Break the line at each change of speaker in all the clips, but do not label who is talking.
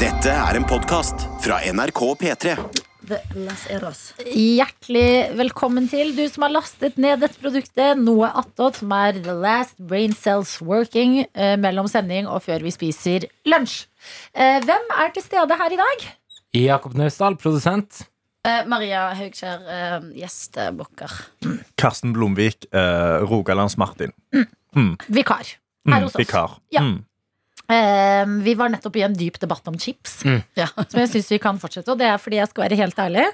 Dette er en podcast fra NRK P3.
The Las Eros.
Hjertelig velkommen til du som har lastet ned dette produktet. Noe attåt som er The Last Brain Cells Working eh, mellom sending og før vi spiser lunsj. Eh, hvem er til stede her i dag?
Jakob Naustdal, produsent.
Eh, Maria Haugskjær, eh, gjestebukker.
Karsten Blomvik, eh, Rogalands Martin. Mm,
Vikar. Her
mm,
hos oss.
vikar.
Ja.
Mm.
Eh, vi var nettopp i en dyp debatt om chips,
Ja.
som jeg syns vi kan fortsette. Og det er fordi jeg skal være helt ærlig.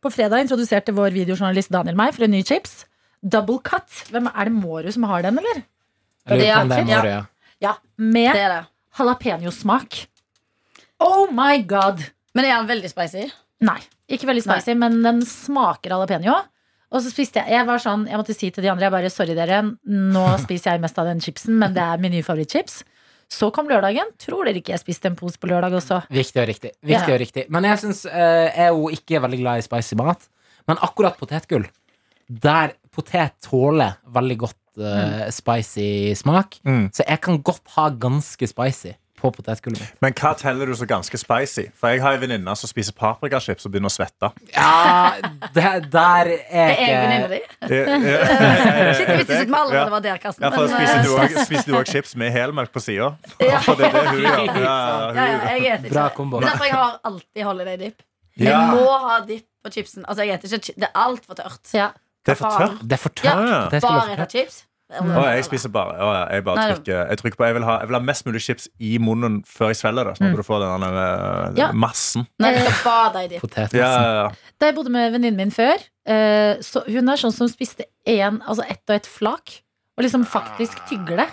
På fredag introduserte vår videojournalist Daniel meg for en ny chips. Double cut. Hvem Er det Mårud som har den, eller?
Jeg lurer på om det er
Ja.
Moria.
Ja, Med
Det er det.
jalapeñosmak. Oh my god!
Men er han veldig spicy?
Nei, ikke veldig spicy, men den smaker jalapeño. Og så spiste jeg Jeg var sånn, jeg måtte si til de andre Jeg bare, sorry dere, nå spiser jeg mest av den chipsen, men det er min nye favorittchips. Så kom lørdagen. Tror dere ikke jeg spiste en pose på lørdag også?
Viktig og riktig. Viktig og riktig. Men jeg syns eh, jeg jo ikke er veldig glad i spicy mat. Men akkurat potetgull, der potet tåler veldig godt eh, spicy smak,
Mm.
så jeg kan godt ha ganske spicy på potetgullet mitt.
Men hva teller du som ganske spicy? For jeg har en venninne som spiser paprikachips og begynner å svette.
Ja, det, der er
Er jeg venninna
ikke
di?
Eh, eh,
Shit, jeg visste ikke at vi allerede
Ja.
var der, Karsten.
Ja, for
men, eh,
spiser du også- Spiser du òg chips med helmelk på sida?
Ja.
For det er det hun gjør. Ja, ja,
ja,
hun-
ja, jeg spiser ikke
Bra
det.
kombo.
Det er Derfor jeg har alltid holiday dip.
Ja.
Jeg må ha dip på chipsen. Altså, jeg spiser ikke chi- Det er altfor tørt.
Ja.
Det er for tørt.
Det er for tørt.
Ja.
potetgull er
Bare
for
etter
tørt.
chips.
Å, jeg spiser bare, å, ja, jeg bare
Nei, det-
trykker, jeg trykker på jeg vil, ha, jeg vil ha mest mulig chips i munnen før jeg svelger det. Sånn
Mm.
at du får den eh,
Ja.
massen.
Nei, du skal bade i dip.
Potet,
Ja,
liksom.
ja, ja.
Da jeg bodde med venninnen min før, eh, så hun er sånn som spiste én, altså ett og ett flak, og liksom faktisk tygger det.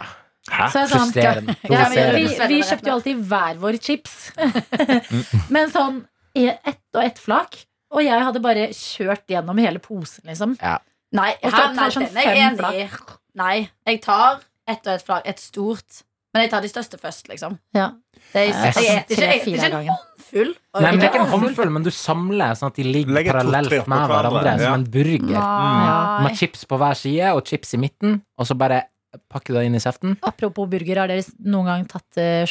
Så jeg er sånn,
Frustrerende.
Ja,
Provoserende.
vi,
Provoserende.
vi, vi kjøpte jo alltid hver vår chips. Men sånn ett og ett flak. Og jeg hadde bare kjørt gjennom hele posen, liksom.
Nei,
Og så
her, nei
tar sånn
den er jeg
fem
enig i. Nei, jeg tar ett og ett flagg. Et stort. Men jeg tar de største først, liksom.
Ja.
Det er,
Jeg
jeg, jeg, det er ikke- det er
Tre-fire av
ikke en
gangen.
håndfull. Og
Nei, men det er
ikke
ikke en håndfull, men du samler sånn at de ligger
Legger to, tre
parallelt
oppå
med hverandre,
hverandre, ja.
som en burger.
Nei.
Med chips på hver side og chips i midten, og så bare pakker du det inn i kjeften.
Apropos burger, har dere noen gang tatt uh,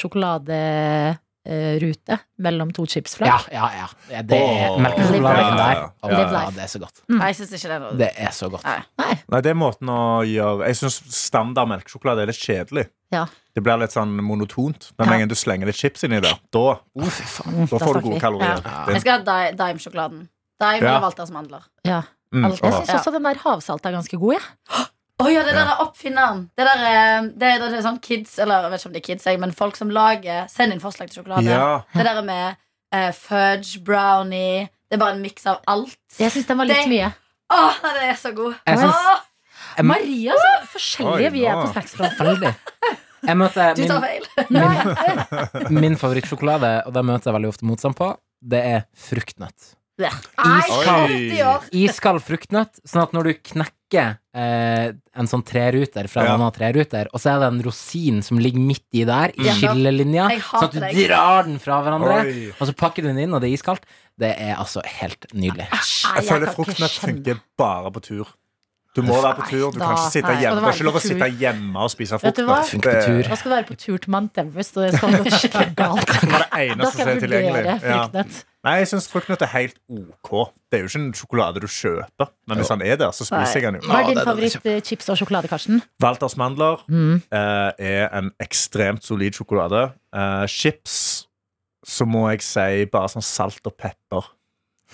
sjokoladerute mellom to
Ja,
chipsflak?
ja, ja. ja. Det er
Åh.
melkesjokoladen
Live
der.
life.
Åh,
Live
ja,
life.
det er så godt.
Nei, jeg syns ikke det er noe
Det er så godt.
Nei.
Nei.
Nei, det er måten å gjøre Jeg syns standard melkesjokolade er litt kjedelig.
Ja.
Det blir litt sånn monotont. Men
Ja.
med en gang du slenger litt chips inni der, da, uff,
da
da får
snakker
du
vi.
gode kalorier.
Ja.
Det-
Jeg skal ha di- Dime-sjokoladen. Dime
Ja.
og Walters mandler.
Ja.
mm,
Jeg
åh.
syns også den der havsalta er ganske god, jeg.
Å ja, det der er oppfinneren. Det der er, det er, det er sånn kids, eller jeg vet ikke om det er kids, jeg, men folk som lager Send inn forslag til sjokolade.
Ja.
Det der er med eh, fudge, brownie Det er bare en miks av alt.
Jeg syns den var litt
Det-
mye.
Å, nei, den er så god.
Jeg syns-
Åh,
Jeg, må-
Maria, så forskjellige
Oi,
vi er
nå.
på snacksfronten.
veldig. jeg møtte
du tar
min,
feil.
min favorittsjokolade, og den møter jeg veldig ofte motstand på. Det er fruktnøtt.
Nei,
Oi.
40 år.
Iskald fruktnøtt, sånn at når du knekker eh, en sånn treruter fra en
Ja.
annen treruter, og så er det en rosin som ligger midt i der, i
Ja.
skillelinja,
Jeg
sånn at
hater
du
deg.
drar den fra hverandre,
Oi.
og så pakker du den inn, og det er iskaldt. Det er altså helt nydelig.
Nei, kan
Jeg føler
ikke
fruktnøtt
skjønne.
funker bare på tur. Du må være på tur. Du
da-
kan ikke sitte
nei.
hjemme.
Skal det
Det er ikke
være
lov å
på tur?
sitte hjemme og spise
Vet du hva?
fruktnøtt.
Funker på tur.
Da skal du være på tur til Mount Everest, og det skal gå skikkelig galt.
Det var det
Da
eneste som
skal
er
jeg vurdere
tilgjengelig. Ja.
fruktnøtt.
Nei, jeg syns fruktnøtt er helt ok. Det er jo ikke en sjokolade du kjøper, men hvis han er der, så
Nei.
spiser jeg den jo.
Hva er din
Ja, det- det-
favoritt-chips og Mm. sjokolade, Karsten?
Walters mandler eh, er en ekstremt solid sjokolade. Eh, chips, så må jeg si bare sånn salt og pepper.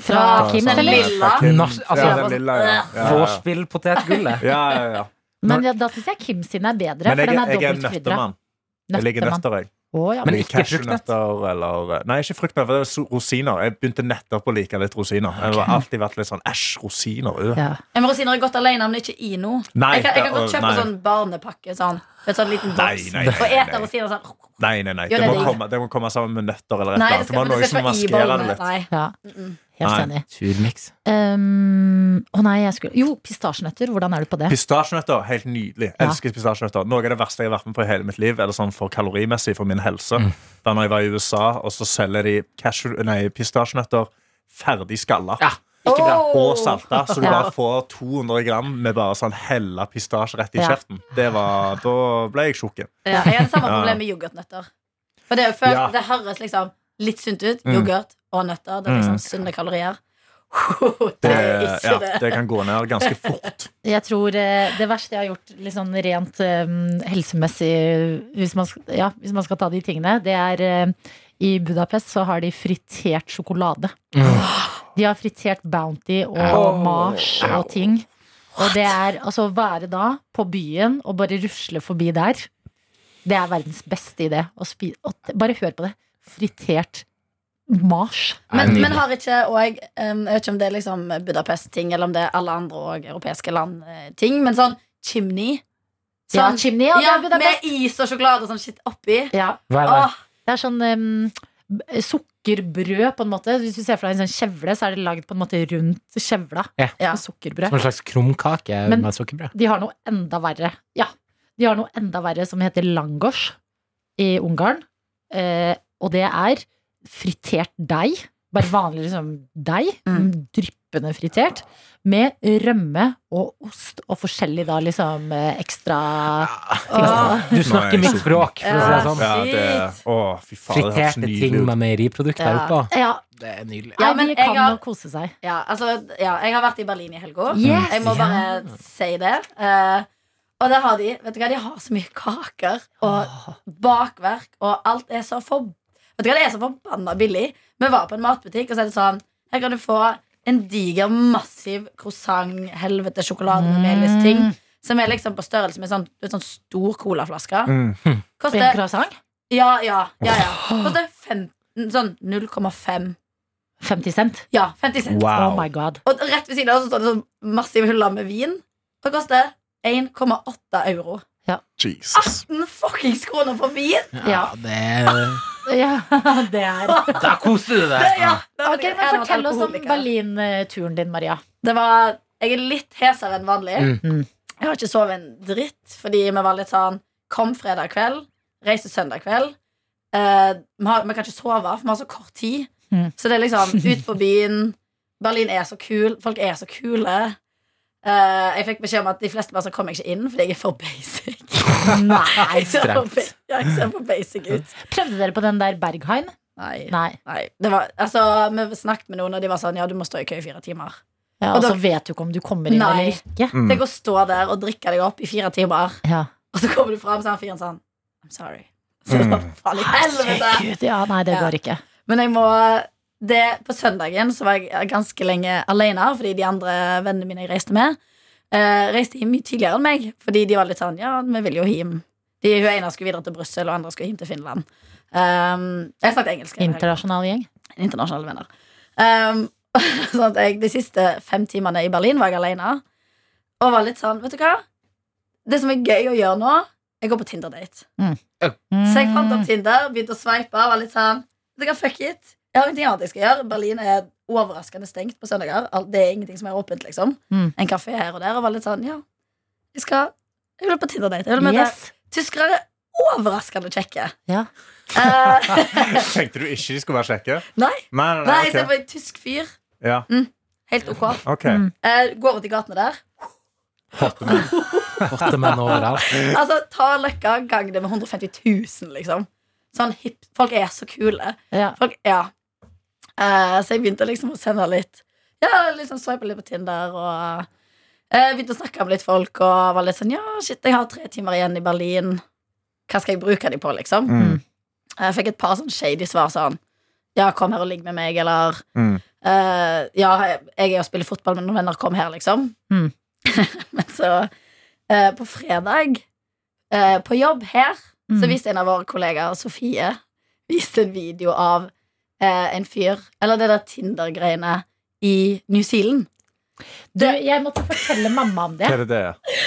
Fra
Ja,
Kims,
sånn,
Ah, den
eller?
lilla.
fra Kims.
Nas- altså,
ja, den lilla, ja. Ja, ja, ja.
Vorspiel potetgullet.
ja, ja, ja.
Men ja, da syns jeg Kim sin er bedre, for
Men jeg,
den er
jeg er en
dobbelt krydra.
nøttemann. Jeg liker nøtter, jeg.
Å, ja.
Men
Jeg liker
ikke fruktnøtt?
cashewnøtter eller eh, Nei, ikke fruktnøtter. for Det er so- rosiner. Jeg begynte nettopp å like litt rosiner. Jeg har alltid vært litt sånn æsj, rosiner. øh.
Ja.
Jeg må rosiner er godt alene, men ikke i noe.
Nei,
jeg, kan, jeg kan
det-
godt kjøpe
nei.
sånn barnepakke. Sånn, et sånn liten boks.
Nei, nei, nei,
og
nei,
ete
nei.
rosiner sånn.
Nei, nei, nei.
Jo,
Det
det
må,
liker jeg.
komme, det må komme sammen med nøtter eller et
Nei,
eller
det
annet. Det må
skal,
ha
men
noe
det
som
skal ikke være i
maskerer det
bollene.
litt.
Nei.
ja. Helt
Nei.
enig.
Surmix.
Um, å nei, jeg skulle Jo, pistasjenøtter. Hvordan er du på det?
Pistasjenøtter, helt nydelig.
Ja.
Elsker pistasjenøtter. Noe av det verste jeg har vært med på i hele mitt liv, eller sånn for kalorimessig for min helse,
Mm.
var når jeg var i USA, og så selger de cashew, nei, pistasjenøtter ferdig skalla.
Ja, ikke bra.
Og salta, så du
Ja.
bare får 200 gram med bare sånn hella pistasje rett i
Ja.
kjeften. Det var, Da ble jeg tjukken.
Ja, jeg har det samme
Ja.
problem med yoghurtnøtter. For det, er jo før,
Ja.
det høres liksom litt sunt ut.
Mm.
Yoghurt og nøtter. Det er
Mm.
liksom sunne kalorier. Det er ikke
ja,
det.
det kan gå ned ganske fort.
Jeg tror eh, det verste jeg har gjort litt sånn rent eh, helsemessig, hvis man, sk- ja, hvis man skal ta de tingene, det er eh, i Budapest så har de fritert sjokolade. De har fritert Bounty og
Mm. Au.
Mars og ting. Og det er altså å være da på byen og bare rusle forbi der. Det er verdens beste idé. Å spi å, bare hør på det. Fritert Mars.
Men,
Nydelig.
men har ikke òg Jeg vet ikke om det er liksom Budapest-ting, eller om det er alle andre og europeiske land-ting, men sånn chimney.
Ja,
Sånn,
chimney.
ja,
Ja, det er Budapest.
med is og sjokolade og sånn shit oppi.
Ja.
Hva er det?
Åh,
Det er sånn em, b- sukkerbrød, på en måte. Hvis du ser for deg en sånn kjevle, så er det lagd på en måte rundt kjevla.
Ja.
Ja.
Med
Som
Sukkerbrød.
en slags krumkake
Men-
med sukkerbrød.
De har noe enda verre. Ja. De har noe enda verre som heter langos i Ungarn. Eh, og det er fritert deig. Bare vanlig liksom, deig.
Mm.
Dryppende fritert. Med rømme og ost og forskjellig da liksom eh, ekstra
åh.
Du snakker
Nei,
mitt
sulten.
språk, for å si
Ja.
det sånn.
Ja, det, å, fy faen, det høres
Friterte ting
nydelig ut.
med meieriprodukter
Ja.
oppå.
Ja,
Det er nydelig.
Ja,
ja
men
de
jeg
kan
har-
jo kose seg.
Ja, altså, ja, jeg har vært i Berlin i helga.
Yes!
Jeg må bare si det. Eh, og der har de Vet du hva, de har så mye kaker og bakverk, og alt er så for Vet du hva, det er så forbanna billig. Vi var på en matbutikk, og så er det sånn Her kan du få en diger, massiv croissant, helvete, sjokolade med melis-ting.
Mm.
Som er liksom på størrelse med sånn, en sånn stor colaflaske.
Mm.
På
Ah,
en
Koster
croissant?
Ja, ja, ja. ja. Koster 15, sånn 0,5
50 cent.
Ja, 50 cent.
Oh
Wow.
my god.
Og rett ved siden av så står det sånn massiv hylle med vin. Det koster 1,8 euro.
Jesus.
18 fuckings kroner for vin!
Ja, det er-
Ja, det er
Da koser du
Det,
deg!
ja, det hadde
Ok,
jeg
men
gjerne vært
Fortell oss om
alkoholiker.
Berlin-turen din, Maria.
Det var, Jeg er litt hesere enn vanlig.
Mm.
Jeg har ikke sovet en dritt fordi vi var litt sånn Kom fredag kveld, reise søndag kveld. Eh, vi, har, vi kan ikke sove, for vi har så kort tid.
Mm.
Så det er liksom ut på byen. Berlin er så kul. Folk er så kule. Eh, jeg fikk beskjed om at de fleste bare så kom jeg ikke inn fordi jeg er for basic.
Nei.
Jeg ser for,
Strengt.
ja, jeg ser for basic ut.
Prøvde dere på den der Berghain?
Nei.
Nei.
Nei. Det var, altså, vi snakket med noen, og de var sånn Ja, du må stå i kø i fire timer.
Ja,
Og
altså- og så
dere-
vet du ikke om du kommer inn
Nei.
eller ikke.
Mm.
Tenk å stå der og drikke deg opp i fire timer,
Ja.
og så kommer du fram, så er han fyren sånn I'm sorry. Så
Mm.
det var faen
Ah,
i helvete.
Herregud, ja, nei, det
Ja.
går ikke.
Men jeg må det, På søndagen så var jeg ganske lenge alene fordi de andre vennene mine jeg reiste med, eh, reiste hjem mye tidligere enn meg. Fordi de var litt sånn Ja, vi vil jo hjem. De, hun ene skulle videre til Brussel, og andre skulle hjem til Finland. Um, jeg snakket engelsk. hele helgen.
Internasjonal gjeng.
internasjonale venner. Um, sånn at jeg, de siste fem timene i Berlin var jeg alene. Og var litt sånn, vet du hva? Det som er gøy å gjøre nå, jeg går på Tinder-date. Så jeg fant
Mm.
opp Tinder, begynte å sveipe, var litt sånn, vet du hva, fuck it. Jeg har ingenting annet jeg skal gjøre. Berlin er overraskende stengt på søndager. Al- Det er ingenting som er åpent, liksom.
Mm.
En kafé her og der, og var litt sånn, ja, jeg skal, jeg vil på Tinder-date. Jeg vil møte
Mm. Yes.
tyskere er overraskende kjekke.
Ja.
Eh,
Tenkte du ikke de skulle være kjekke?
Nei.
Nei, nei,
nei,
nei,
jeg ser
ok.
på en tysk fyr. Mm,
Ja,
Helt ok.
ok.
Mm.
Eh, Gå rundt i gatene der.
Åtte menn overalt.
Altså, Ta løkka, gang det med 150 000, liksom. Sånn hip, Folk er så kule.
Ja.
Folk, ja. Eh, så jeg begynte liksom å sende litt Ja, liksom sveipa litt på Tinder og eh, Begynte å snakke med litt folk og var litt sånn Ja, shit, jeg har tre timer igjen i Berlin. Hva skal jeg bruke de på, liksom?
Mm.
Jeg fikk et par sånn shady svar sånn Ja, kom her og ligg med meg, eller
Mm.
eh, Ja, jeg jeg er og spiller fotball med noen venner, kom her, liksom.
Mm.
Men så eh, På fredag, eh, på jobb her, så
Mm.
viste en av våre kollegaer, Sofie, viste en video av eh, en fyr Eller det der Tinder-greiene i New Zealand.
Du, jeg måtte fortelle mamma om det.
Hva er det det er?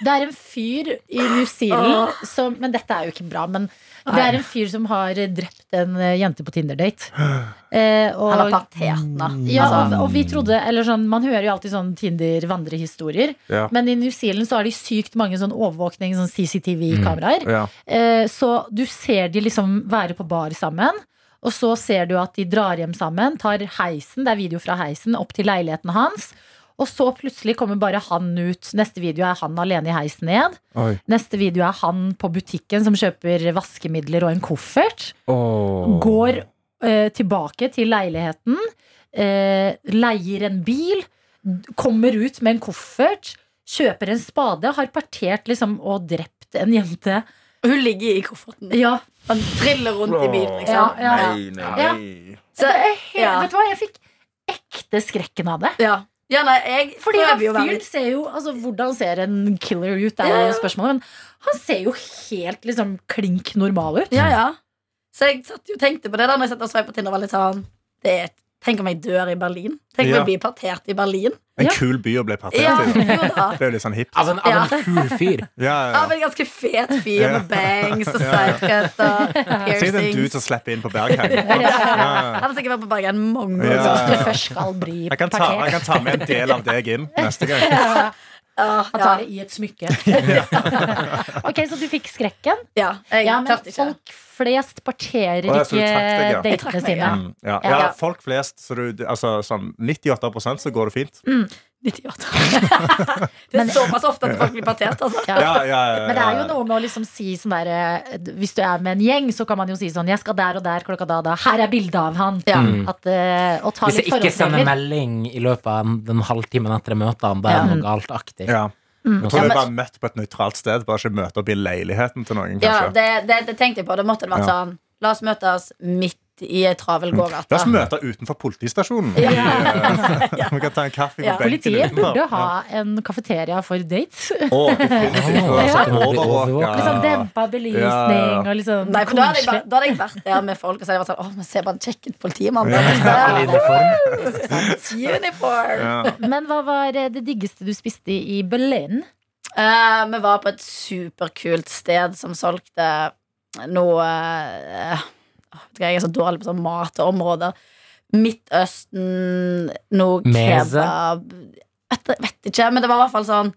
Det er en fyr i New Zealand som Men dette er jo ikke bra, men det er en fyr som har eh, drept en eh, jente på Tinder-date. Eh, og-
Han var partner.
Ja, og,
altså,
og vi trodde, eller sånn, Man hører jo alltid sånn Tinder-vandrehistorier.
Ja.
Men i New Zealand så har de sykt mange sånn overvåkning, sånn CCTV-kameraer.
Ja.
Eh, så du ser de liksom være på bar sammen. Og så ser du at de drar hjem sammen, tar heisen, det er video fra heisen, opp til leiligheten hans. Og så plutselig kommer bare han ut. Neste video er han alene i heisen ned.
Oi.
Neste video er han på butikken som kjøper vaskemidler og en koffert.
Åh.
Går eh, tilbake til leiligheten, eh, leier en bil, d- kommer ut med en koffert, kjøper en spade, har partert liksom og drept en jente.
Og hun ligger i kofferten.
Ja,
Han triller rundt i bilen, liksom.
Ja, ja, ja.
Nei, nei,
Ja.
nei.
Så,
det er helt,
ja.
Vet du hva, jeg fikk ekte skrekken av det.
ja. ja nei, jeg
Fordi han
prøver jo å være
fyren
litt
ser jo altså, Hvordan ser en killer ut, er
Ja,
jo
ja.
spørsmålet. Men han ser jo helt liksom klink normal ut.
Ja, ja. Så jeg satt jo og tenkte på det da Når jeg satt og svei på Tinder. Var litt sånn det er, Tenk om jeg dør i Berlin? Tenk om
Ja.
jeg blir partert i Berlin?
En
Ja.
kul by å bli
Ja,
partert i.
jo da.
Det er jo litt sånn hipt.
Av en, av en kul fyr.
Ja, ja,
Av
ja.
en ganske fet fyr med bangs og sidecut og
Tenk deg en dude som
piercings.
slipper inn på Berghaug.
Ja, ja, ja.
Ja.
Han har sikkert vært på Bergen mange ganger.
Ja, ja,
Hvis
ja.
du først skal bli
Jeg kan, ta, jeg
partert.
kan ta med en del av deg inn neste gang.
Ja,
Han
ja,
tar det i et smykke. ok, Så du fikk skrekken?
ja. Jeg
Ja, men
tørte ikke.
folk flest parterer
Å, jeg tror du
ikke
trakk deg, ja.
Jeg trakk
datene
meg,
sine.
Mm, ja.
Ja.
ja, folk flest. Så du, altså, sånn 98 så går det fint.
98. det er såpass ofte at folk blir partert, altså.
Ja.
Ja, ja, ja, ja.
Men det er jo noe med å liksom si sånn der eh, Hvis du er med en gjeng, så kan man jo si sånn 'Jeg skal der og der klokka da og da. Her er bildet av han.'
Ja.
Mm.
At, eh, og ta
Hvis
litt
jeg ikke
forholdsregler.
sender melding i løpet av den, den halvtimen etter jeg møter han, det er
Ja.
noe galt aktig.
Ja.
Noe
Jeg tror
sånt.
jeg bare møtt på et nøytralt sted. Bare ikke møte opp i leiligheten til noen,
Ja,
kanskje.
det, det, det tenkte jeg på. Det måtte det vært
Ja.
sånn La oss møtes midt i ei travel
La oss
gågate.
møte utenfor politistasjonen.
Ja.
I, eh, Vi kan ta en kaffe
Ja.
på benken
Politiet
utenfor.
burde ha en kafeteria for dates.
Ja. Å, definitivt.
Ja.
Ja.
Ja.
Overvåka.
Litt
Liksom dempa belysning
Ah. Ja, ja, ja.
og liksom
Nei, for da hadde, jeg, bare-
koselig.
da hadde jeg vært der med folk og så hadde jeg vært sånn Å, men se på han kjekke politimannen.
Alle i uniform.
liksom sånn, Uniform!
Ja.
Men hva var eh, det diggeste du spiste i Berlin?
Eh, vi var på et superkult sted som solgte noe eh, åh, vet du hva, Jeg er så dårlig på sånn mat og områder. Midtøsten, noe
Meze?
kebab vet, vet ikke, men det var i hvert fall sånn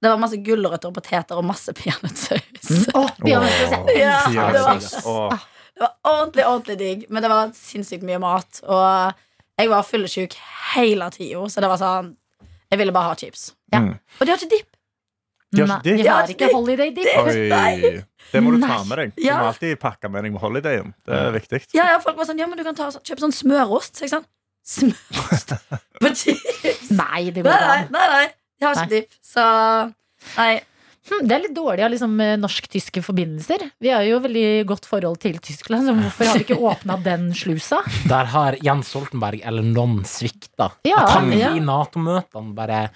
Det var masse gulrøtter og poteter og masse peanøttsaus.
Åh, peanøttsaus, jeg
Ja,
elsker
det
peanøttsaus.
var-
Åh.
Det var ordentlig, ordentlig digg, men det var sinnssykt mye mat. Og jeg var fyllesyk hele tida, så det var sånn Jeg ville bare ha chips.
Ja.
Mm.
Og de har ikke dipp.
De har
Nei,
ikke dipp.
de har ikke holiday dip.
Oi. Det må du ta med deg. Du
Ja.
må alltid pakke med deg med holidayen. Det er viktig.
Ja, ja, folk var sånn Ja, men du kan ta, sånn- kjøpe sånn smørost. Så jeg sånn Smørost på chips?
Nei, det går
Nei,
ikke
nei,
an.
nei, nei. Jeg har ikke dipp. Så Nei.
Hm, Det er litt dårlig av liksom, eh, norsk-tyske forbindelser. Vi har jo veldig godt forhold til Tyskland, så hvorfor har vi ikke åpna den slusa?
Der har Jens Stoltenberg eller noen svikta.
Ja,
At han
ja.
i Nato-møtene bare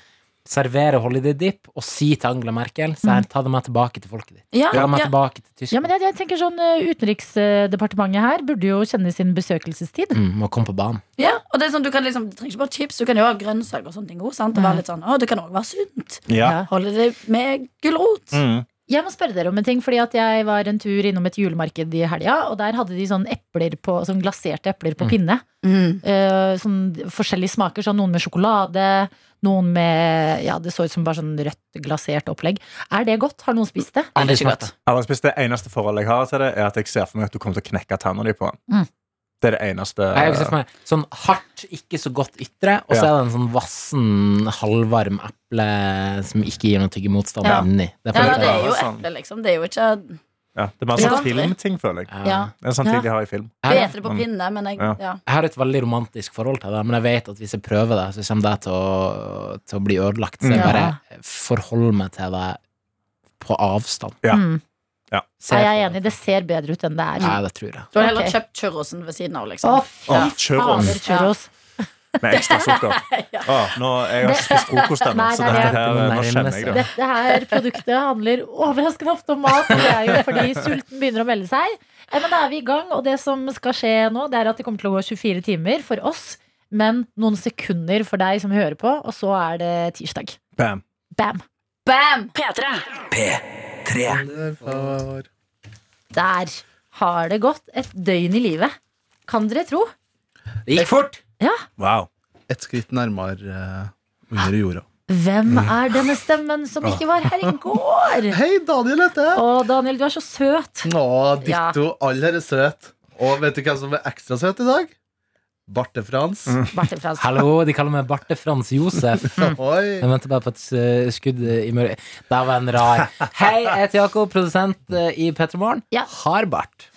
serverer holiday dip og sier til Angela Merkel Så her, ta det med tilbake til folket ditt.
Ja,
Ta det med
ja.
tilbake til
Ja, men
Tyskland.
jeg, jeg tenker sånn eh, Utenriksdepartementet her burde jo kjenne sin besøkelsestid.
Mm, må komme på banen.
ja. Og det er sånn, du kan liksom Du trenger ikke bare chips, du kan jo ha grønnsaker og sånne ting òg. Og være litt sånn Å, det kan òg være sunt.
Ja.
Ja.
Holde det med gulrot.
Mm.
Jeg må spørre dere om en ting, fordi at jeg var en tur innom et julemarked i helga, og der hadde de sånn epler på, sånn glaserte epler på pinne.
Mm.
Eh, sånn forskjellige smaker, sånn noen med sjokolade, noen med Ja, det så ut som bare sånn rødt glasert opplegg. Er det godt? Har noen spist det?
Aldri smakt.
Alex, hvis det eneste forholdet jeg har til det, er at jeg ser for meg at du kommer til å knekke tennene dine på den.
Mm.
Det er det eneste
Nei, jeg har ikke sett for meg. Sånn hardt, ikke så godt ytre, og så
Ja.
er det en sånn vassen, halvvarm eple som ikke gir noe tyggemotstand
Ja.
inni. Det
Ja,
føler
da, det
jeg-
er jo
Sånn.
eple, liksom. Det er jo ikke
ja, Det er mer sånn
Ja.
filmting, føler jeg.
Ja.
Det er en sånn ting
Ja.
de har i film.
Jeg har-
Bedre på pinne, men jeg
Ja.
sånn. Ja.
jeg har et veldig romantisk forhold til det, men jeg vet at hvis jeg prøver det, så kommer det til å, til å bli ødelagt. Så jeg
Mm.
bare forholder meg til det på avstand.
Ja.
Mm.
Ser
Nei, jeg er
på
enig, det ser bedre ut enn det er.
Ja, det tror jeg.
Du har heller
Ok.
kjøpt churrosen ved siden av,
Å,
liksom.
fy
Å, churros.
fader, churros.
Med ekstra sukker.
Ja.
Å, nå, jeg har ikke spist frokost ennå,
Nei,
så
nei,
dette
det er-
her, nå kjenner jeg det.
Dette her produktet handler overraskende ofte om mat. og Det er jo fordi sulten begynner å melde seg. Eh, Men da er vi i gang, og det som skal skje nå, det er at det kommer til å gå 24 timer for oss. Men noen sekunder for deg som hører på, og så er det tirsdag.
Bam.
Bam!
Bam!
Der har det gått et døgn i livet. Kan dere tro?
Det gikk fort!
Wow.
Et skritt nærmere eh, under jorda.
Hvem er denne stemmen som ikke var her i går?
Hei, Daniel heter jeg.
Å, Daniel, du er så søt.
Å, ditto. Alle er søt. Og vet du hvem som er ekstra søt i dag? Barte Frans.
Martin Frans.
Hallo, de kaller meg Barte Frans Josef.
Oi.
Jeg venter bare på et eh, skudd i mørket. Der var en rar. Hei, jeg heter Jakob, produsent eh, i Petremorgen.
Ja.
Har bart.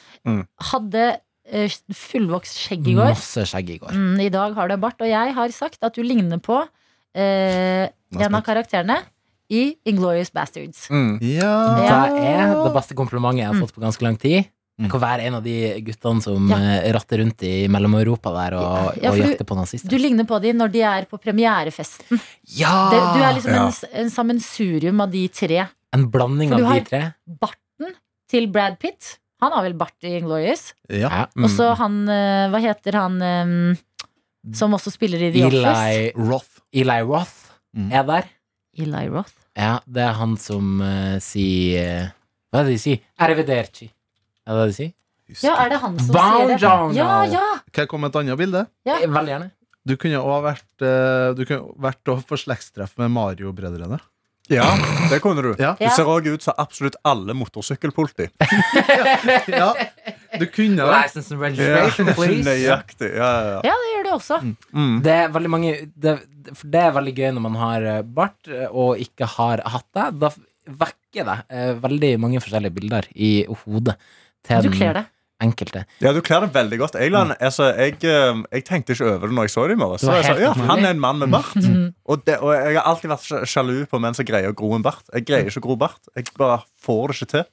Hadde eh, fullvokst skjegg i går.
Masse skjegg i går.
Mm, I dag har du bart, og jeg har sagt at du ligner på eh,
Nå er jeg
en av karakterene i Inglorious Bastards.
Mm.
Ja.
Hva er det beste komplimentet jeg har fått på ganske lang tid?
Mm.
Jeg kan være en av de guttene som
Ja.
eh, ratter rundt i mellom-Europa der og,
Ja, for
og
du-
jakter på nazister.
Du ligner på dem når de er på premierefesten.
ja!
Det, du er liksom
Ja.
en, s- en sammensurium av de tre.
en blanding
For
av
du har-
de tre.
Barten til Brad Pitt. Han har vel bart i Inglorious.
ja.
Ja. mm.
Og så han eh, Hva heter han eh, som også spiller i The Office?
Eli,
Roth.
Eli Roth
Mm.
er der.
Eli Roth.
Ja, det er han som eh, sier Hva er det de sier? Arrivederci. Er det det de sier?
Ja, er det han som sier
Bon
det?
Jovi.
Ja, ja!
Kan jeg komme med et annet bilde?
Ja.
Eh, Veldig gjerne.
Du kunne òg vært eh, Du kunne vært også på slektstreff med Mario-brødrene.
Ja, det kunne du.
Ja.
Du ser òg ut som absolutt alle motorsykkelpoliti.
Ja, du kunne vært
License and registration, please.
Nøyaktig. Ja, ja, ja.
ja, det gjør du også.
Mm.
Det er veldig mange det, det- For det er veldig gøy når man har eh, bart eh, og ikke har hatt det. Da f- vekker det eh, veldig mange forskjellige bilder i hodet til
Du kler
den
det.
enkelte.
ja, du kler det veldig godt. Jeg, land- altså, jeg, eh, jeg tenkte ikke over det når jeg så det i morges.
Du
Så
var
jeg sa,
helt
Ja,
naturlig. Mm.
han er en mann med bart. Og, det, og jeg har alltid vært sj- sjalu på menn som greier å gro en bart. Jeg greier ikke å gro bart. Jeg bare får det ikke til.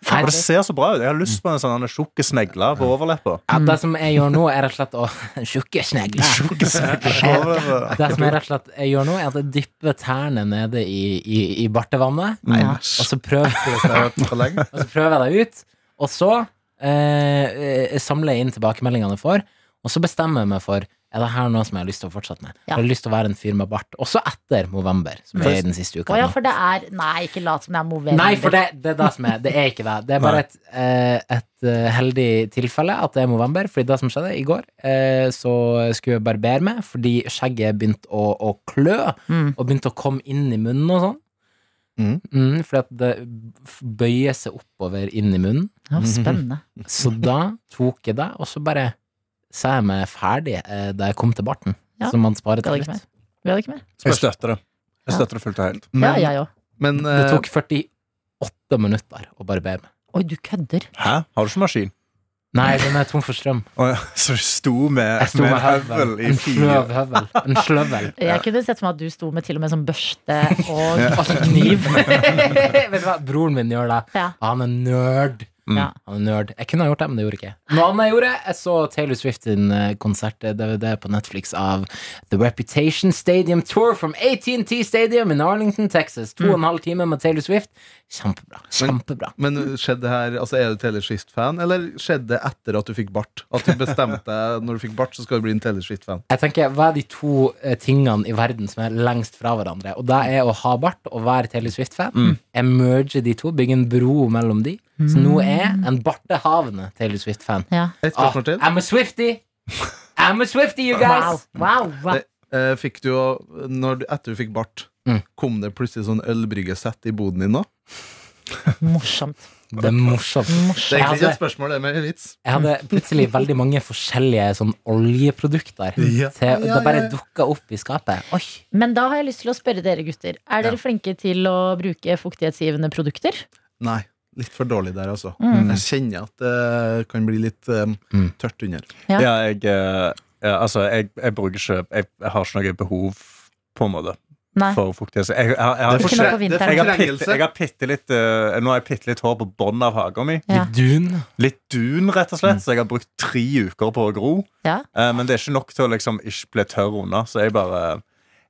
Nei,
For det ser så bra ut. Jeg har lyst på en sånn tjukk snegle på overleppa.
ja, det som jeg gjør nå, er rett og slett å Tjukke snegler.
Tjukke snegler på overleppa.
Det som jeg rett og slett jeg gjør nå, er at jeg dypper tærne nede i, i, i bartevannet.
Nei,
Ja.
Og så prøver,
slektstreff for lenge.
og så prøver jeg det ut. Og så eh, eh, samler jeg inn tilbakemeldingene jeg får, og så bestemmer jeg meg for er det her noe som jeg har lyst til å fortsette med.
Ja.
Jeg har lyst til å være en fyr med bart, også etter november. Som er i den siste uka
Å ja,
nå.
for det er Nei, ikke lat som det er Movember.
Mm. Nei, for det, det er det som er. Det er ikke det. Det er bare et, eh, et eh, heldig tilfelle at det er november. Fordi det som skjedde i går, eh, så skulle jeg barbere meg fordi skjegget begynte å, å klø.
Mm.
Og begynte å komme inn i munnen og sånn.
Mm.
Mm, fordi at det f- bøyer seg oppover inn i munnen.
Ja, spennende.
Så da tok jeg det, og så bare sa jeg meg ferdig eh, da jeg kom til barten.
Ja.
Som man sparer
Skal det
til
ikke
slutt.
Vi hadde ikke mer.
Jeg støtter det. Jeg støtter det fullt og helt.
Ja,
Men,
jeg òg.
men
Det
eh,
tok 48 minutter å barbere meg.
Oi, du kødder.
Hæ? Har du ikke maskin?
Nei, den er tom for strøm.
Å ja, Så du sto med,
Jeg sto
med
med
en høvel
høvel.
i
En
fire
sløv høvel. En sløvel.
Jeg kunne sett for meg at du sto med til og med sånn børste og
Altså kniv. Vet du hva, broren min gjør det.
Ja.
Han er nerd.
Mm.
ja.
Han er nerd. Jeg kunne ha gjort det, men det gjorde jeg ikke. Noe annet jeg gjorde, jeg så Taylor Swift sin eh, konsert eh, DVD på Netflix av The Reputation Stadium Tour from AT&T Stadium in Arlington, Texas. To og
Mm.
en halv time med Taylor Swift. Kjempebra. Kjempebra.
eh, men skjedde det her, altså Er du Taylor Swift-fan, eller skjedde det etter at du fikk bart? At du bestemte deg når du fikk bart, så skal du bli en Taylor Swift-fan?
Jeg tenker, Hva er de to eh, tingene i verden som er lengst fra hverandre? Og det er å ha bart og være Taylor Swift-fan. Jeg merger de to, bygge en bro mellom de.
Mm.
Så nå er jeg en bartehavende Taylor Swift-fan.
ja.
Et
Ah,
spørsmål til.
I'm a Swifty! I'm a Swifty, you
Wow,
guys!
wow, wow.
Eh, Fikk du, jo- når, du- etter du fikk bart,
Mm.
kom det plutselig sånn ølbryggesett i boden din nå?
Morsomt.
Det er morsomt.
Det er
Jeg
egentlig ikke
hadde,
et spørsmål, det er mer en vits.
jeg hadde plutselig veldig mange forskjellige sånn oljeprodukter.
Ja.
Til,
Ja,
det bare
ja, ja.
dukka opp i skapet. Oi,
Men da har jeg lyst til å spørre dere gutter. Er dere flinke til å bruke fuktighetsgivende produkter?
Nei, litt for dårlig der, altså.
Mm.
Jeg kjenner at det kan bli litt eh,
Mm.
tørt under.
Ja.
Ja, jeg, eh, ja, altså, jeg, jeg bruker ikke jeg, jeg har ikke noe behov, på en måte,
Nei.
for fuktighet. Så Jeg, jeg, jeg, har-
Det er
jeg,
ikke noe på
det er
vinteren.
har pitt-
fortrengelse.
jeg har bitte litt eh, Nå har jeg bitte litt hår på bånn av hagen min.
Ja. Mm.
litt dun.
Litt dun, rett og slett, så jeg har brukt tre uker på å gro.
Ja.
Eh, men det er ikke nok til å liksom ikke bli tørr unna, så jeg bare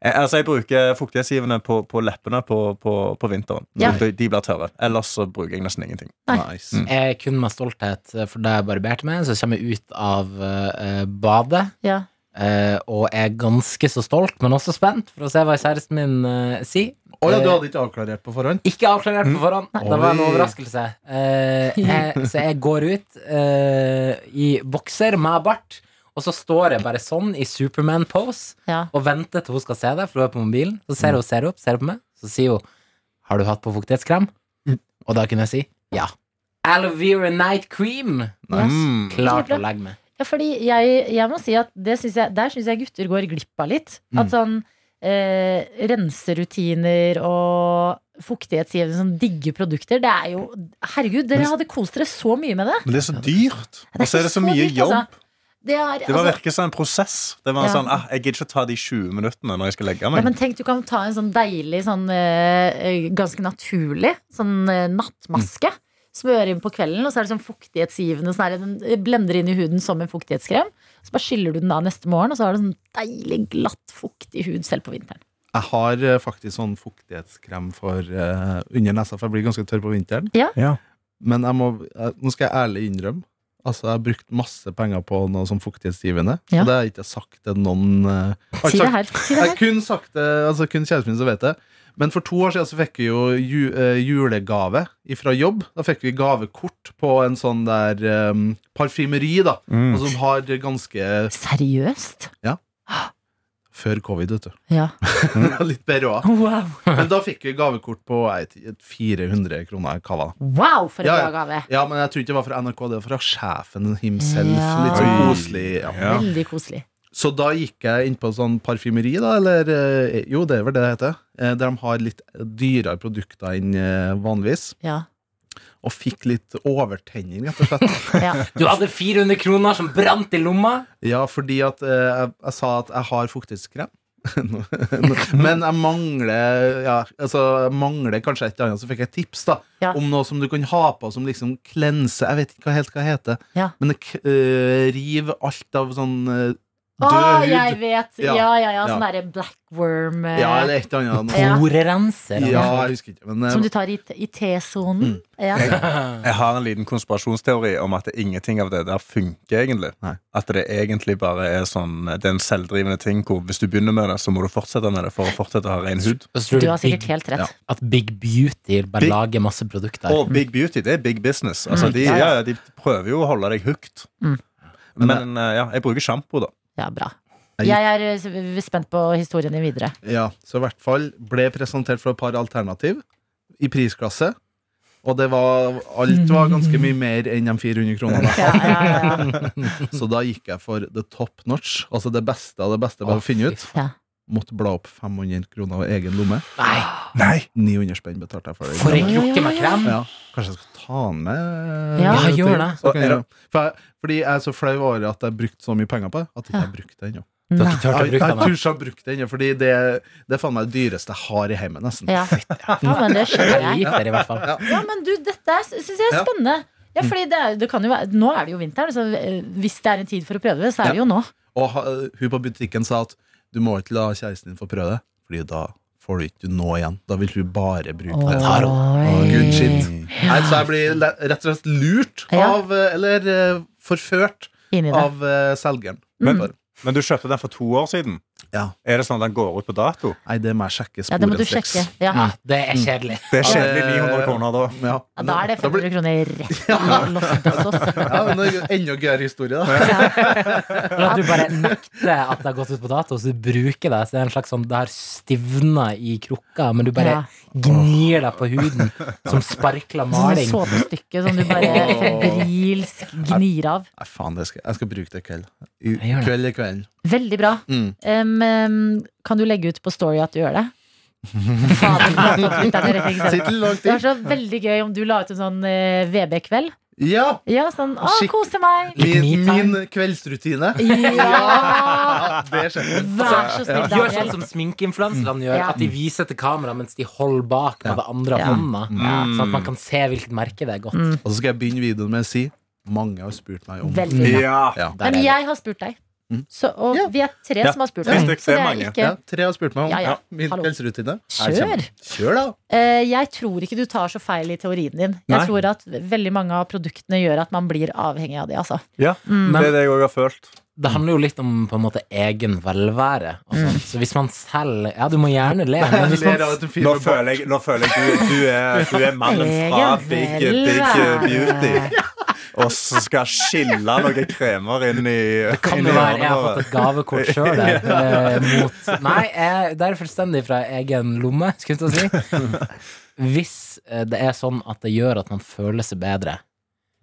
jeg, altså jeg bruker fuktighetsgivende på, på leppene på, på, på vinteren.
Ja.
De, de blir tørre. Ellers så bruker jeg nesten ingenting.
Nei.
Nice.
Jeg kun med stolthet eh, for det jeg barberte meg, så kommer jeg ut av eh, eh, badet.
Ja.
eh, og er ganske så stolt, men også spent, for å se hva kjæresten min eh, sier.
Å ja, du
Eh,
hadde ikke avklarert på forhånd?
Ikke avklarert på forhånd. Det var en
Oi.
overraskelse. Eh, jeg, så jeg går ut eh, i bokser med bart, og så står jeg bare sånn i Superman-pose
ja.
og venter til hun skal se det, for hun er på mobilen. Så ser hun ser opp, ser på meg, så sier hun 'Har du hatt på fuktighetskrem?' Mm. Og da kunne jeg si ja. Aloe vera night cream.
Mm.
Klart å legge meg.
Mm.
Ja, fordi jeg, jeg må si at det synes jeg, der syns jeg gutter går glipp av litt. At sånn eh, renserutiner og fuktighetsgivende sånn digge produkter. Det er jo Herregud, dere hadde kost dere så mye med det.
Men det er så dyrt.
Det er
Og så er det
ikke
så mye
dyrt,
jobb.
altså. Det, er,
Det var
altså,
virker som en prosess. Det var
Ja.
sånn, ah, Jeg gidder ikke ta de 20 minuttene når jeg skal legge
ja,
meg.
men tenk, du kan ta en sånn deilig, sånn eh, ganske naturlig sånn eh, nattmaske.
Mm.
Smøre inn på kvelden, og så er det sånn fuktighetsgivende. Sånn her, den blender inn i huden som en fuktighetskrem. Så bare skyller du den av neste morgen, og så har du sånn deilig, glatt, fuktig hud selv på vinteren.
Jeg har eh, faktisk sånn fuktighetskrem for eh, under nesa, for jeg blir ganske tørr på vinteren.
Ja.
Ja.
Men jeg må, jeg, nå skal jeg ærlig innrømme. Altså, Jeg har brukt masse penger på noe som fuktighetsgivende.
Ja.
Og det har jeg ikke sagt til noen eh, jeg har
Si det
ikke sagt-
her. Si det
Jeg
her.
kun sagt det, altså kun kjæresten min som vet det. Men for to år siden så fikk vi jo ju, eh, julegave fra jobb. Da fikk vi gavekort på en sånn der eh, parfymeri, da.
Mm.
Og som har ganske
Seriøst?
Før covid, vet du.
Ja.
Mm.
Litt beråa.
Wow.
Men da fikk vi gavekort på jeg vet ikke, 400 kroner. Hva var det?
Wow, for en
Ja,
bra
ja.
gave.
Ja, men jeg tror ikke det var fra NRK, det var fra sjefen himself.
Ja.
Litt sånn
Oi.
koselig. Ja.
Ja.
Veldig koselig.
Så da gikk jeg inn på sånn parfymeri, da, eller eh, Jo, det er vel det det heter. eh, Der de har litt dyrere produkter enn eh, vanligvis.
Ja.
Og fikk litt overtenning, rett og slett.
ja.
Du hadde 400 kroner som brant i lomma.
Ja, fordi at eh, jeg, jeg sa at jeg har fuktighetskrem. Nå- nå- Men jeg mangler ja, altså, jeg mangler kanskje et eller annet, så fikk jeg tips da
Ja.
om noe som du kan ha på som liksom klenser Jeg vet ikke hva helt hva det heter,
Ja.
men det k- eh, river alt av sånn eh,
Å,
død
jeg
hud.
vet! Ja,
Ja.
ja, ja. Sånn
Ja.
derre black worm eh,
Ja, eller et eller annet.
Ja.
Porerenser.
Ja, jeg husker ikke. Men, eh,
som du tar i, t- i T-sonen.
Mm.
Ja.
Jeg har en liten konspirasjonsteori om at ingenting av det der funker egentlig.
Nei.
At det egentlig bare er sånn Det er en selvdrivende ting hvor hvis du begynner med det, så må du fortsette med det for å fortsette å ha ren hud.
Og så tror
Du har
Big-
sikkert helt rett.
Ja.
At Big Beauty bare
Big-
lager masse produkter.
Og big beauty, det er big business. Altså,
Mm.
de,
Ja, ja.
ja, ja, de prøver jo å holde deg hooked.
Mm.
Men eh, ja, jeg bruker sjampo, da.
Ja, bra.
Jeg gikk-
Jeg er eh, s- spent på historien din videre.
Ja, så i hvert fall ble presentert for et par alternativ i prisklasse. Og det var, alt var ganske mye mer enn de 400 kronene. jeg
Ja, ja, ja, ja.
Så da gikk jeg for the top notch, altså det beste av det beste jeg bare
Å,
finne
fy
ut.
Ja.
Måtte bla opp 500 kroner av egen lomme.
Nei,
900 spenn betalte jeg for det.
for en krukke med krem!
Ja, Kanskje jeg skal ta den med?
Ja.
Ja, gjør det.
Så kan jeg, for jeg, fordi jeg er så flau over at jeg brukte så mye penger på det, at ikke jeg brukte det ennå.
Du har
Nei.
ikke turt å
Jeg, jeg,
bruke den? da.
tror ikke jeg har brukt det ennå, fordi det, det er faen meg det dyreste jeg har i hjemmet, nesten.
Ja. ja, men det skjønner
Det
jeg.
gikk der i hvert fall.
Ja, men du, dette er- syns jeg er
Ja. Mm.
spennende. Ja, fordi det er, det kan jo være, nå er det jo vinter, så eh, hvis det er en tid for å prøve det, så er det jo nå.
Og ha- hun på butikken sa at du må ikke la kjæresten din få prøve det, fordi da får du ikke noe igjen. Da vil hun bare bruke det.
Oi.
Good shit. Nei, så jeg blir le- rett og slett lurt
Ja.
av eh, Eller eh, forført
Inni det.
av eh, selgeren.
Mm.
Men-
Bare,
Men du kjøpte den for to år siden.
Ja.
Er det sånn at den går ut på dato?
Nei, det må jeg sjekke
Ja, det må du
sporenstreks.
sjekke. Ja.
Ja, det er kjedelig.
Det er kjedelig
Ja, det-
900 kroner da.
Ja.
Ja, da er det
blir-
500 kroner rett i lossedosos.
ja, men det er jo enda gøyere historie, da.
Eller at du bare nekter at det har gått ut på dato, så du bruker det. Så det er en slags sånn Det har stivna i krukka, men du bare
Ja.
gnir deg på huden som sparkler
Sånn
maling.
såpestykke som du bare
Åh.
febrilsk gnir av.
Nei, faen, det skal, jeg skal bruke det i kveld. I,
Jeg gjør det.
kveld i kvelden.
Veldig bra.
Mm.
Em, em, kan du legge ut på Story at du gjør det? Fader, nå tok vi deg det rette eksempelet.
Sitter
sånn.
langt
Det
inn.
var så veldig gøy om du la ut en sånn eh, VB-kveld.
Ja!
Ja, sånn 'Å,
Skikk-
kose meg'.
Min,
Litt me-time.
min kveldsrutine.
Ja!
Ja, det skjer.
Vær så snill,
Gjør sånn
Daniel. Mm.
som sminkeinfluenserne gjør,
Ja.
at de viser til kamera mens de holder bak med det andre
Ja.
hånda. Sånn at man kan se hvilket merke det er godt.
Mm.
Og så skal jeg begynne videoen med å si mange har spurt meg om
Veldig bra.
Ja.
Der
Men
er det.
jeg har spurt deg.
Mm.
Så, og
Ja.
vi er tre
Ja,
som har spurt
tre
deg.
stykker,
Så det
det er
er
mange.
Ja,
ikke
tre har spurt meg om
Ja, ja.
min
Hallo.
kveldsrutine.
Kjør!
Kjør, da!
Eh, jeg tror ikke du tar så feil i teorien din. Jeg
Nei.
tror at veldig mange av produktene gjør at man blir avhengig av de, altså.
Ja,
Mm.
det er det jeg òg har følt.
Det handler jo litt om på en måte egen velvære. Og sånt. Så hvis man selv Ja, du må gjerne le, men hvis man
Ler av at en fyr
Nå
med bart.
føler jeg, nå føler jeg du, du, er, du er mannen fra
Egen
Big, big
velvære.
Beauty. Og så skal skille noen kremer inn i Det
Kan det være jeg har fått et gavekort sjøl der? eh, mot Nei, jeg, det er fullstendig fra egen lomme, skulle jeg til å si. Hvis eh, det er sånn
Mhm.
at det gjør at man føler seg bedre,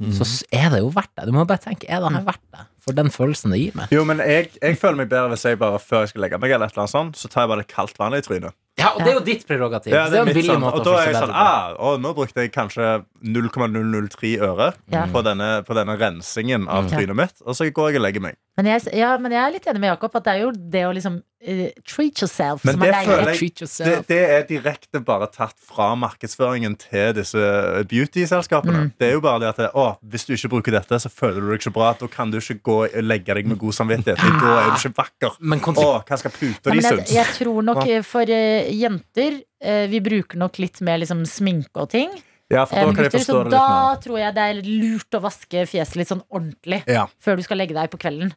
så s- er det jo verdt det. Du må bare tenke er det her verdt det. for den følelsen det gir meg.
Jo, men jeg, jeg føler meg bedre hvis jeg bare før jeg skal legge meg, eller et eller annet sånt, så tar jeg bare litt kaldt vann i trynet.
Ja, og det er jo ditt prerogativ.
Ja,
det er en
mitt
billig
sånn.
måte å
Og da er jeg
fikse bedre på.
sånn, ah, å, nå brukte jeg kanskje 0,003 øre
Ja.
på, denne, på denne rensingen av
Mm.
Ja.
trynet mitt, og så går jeg og legger meg.
Men jeg, ja, men jeg er litt enig med Jakob at det er jo det å liksom eh, treat yourself
Men
som
det
er deilig.
føler jeg-
Treat
Det,
eh,
yourself.
det er direkte bare tatt fra markedsføringen til disse beauty-selskapene.
Mm.
Det er jo bare det at å, hvis du ikke bruker dette, så føler du deg ikke bra. Da kan du ikke gå og legge deg med god samvittighet. for Da er du ikke vakker.
Men
Å,
konse-
hva skal
Ja,
puta
men
di
jeg,
synes?
jeg tror nok eh, for eh, jenter eh, Vi bruker nok litt mer liksom, sminke og ting.
Ja, for
eh,
da
enn
kan jeg
gutter,
forstå
så
det litt mer.
da tror jeg det er lurt å vaske fjeset litt sånn ordentlig
Ja.
før du skal legge deg på kvelden.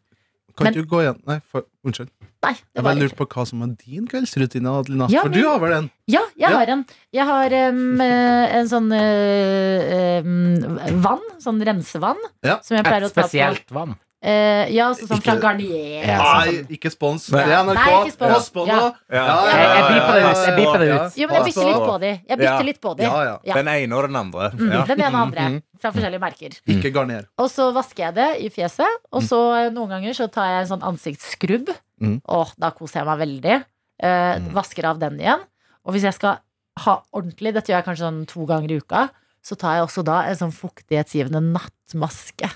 Kan
Men-
ikke du gå igjen Nei, for, unnskyld.
Nei, det var
Jeg bare
ikke
lurte på hva som var din kveldsrutine, Adelina.
Ja,
for
men-
du har vel en?
Ja, jeg
Ja.
har en. Jeg har em, eh, en sånn eh, em, vann. Sånn rensevann.
Ja.
Som jeg pleier
Et
å ta på.
spesielt vann.
Eh, ja, så, sånn fra
Ikke-
Garnier.
Ja,
Nei, ikke spons. Det er NRK.
sånn. Nei, ikke spons.
Pass på nå.
Ja.
Ja.
Ja,
Jeg- jeg
ja,
beeper det
ja,
ut, jeg
ja,
beeper det
ja.
ut.
Jo, men jeg
Pass
bytter litt
på.
på de. Jeg bytter
Ja.
litt på de.
Ja, Mhm. ja.
Ja.
Den ene og den andre.
Mm,
Ja.
Den ene og andre fra forskjellige merker.
Ikke garner.
Og så vasker jeg det i fjeset. Og så eh, noen ganger så tar jeg en sånn ansiktsskrubb.
Mm.
Åh, da koser jeg meg veldig. Eh, Vasker av den igjen. Og hvis jeg skal ha ordentlig, dette gjør jeg kanskje sånn to ganger i uka, så tar jeg også da en sånn fuktighetsgivende nattmaske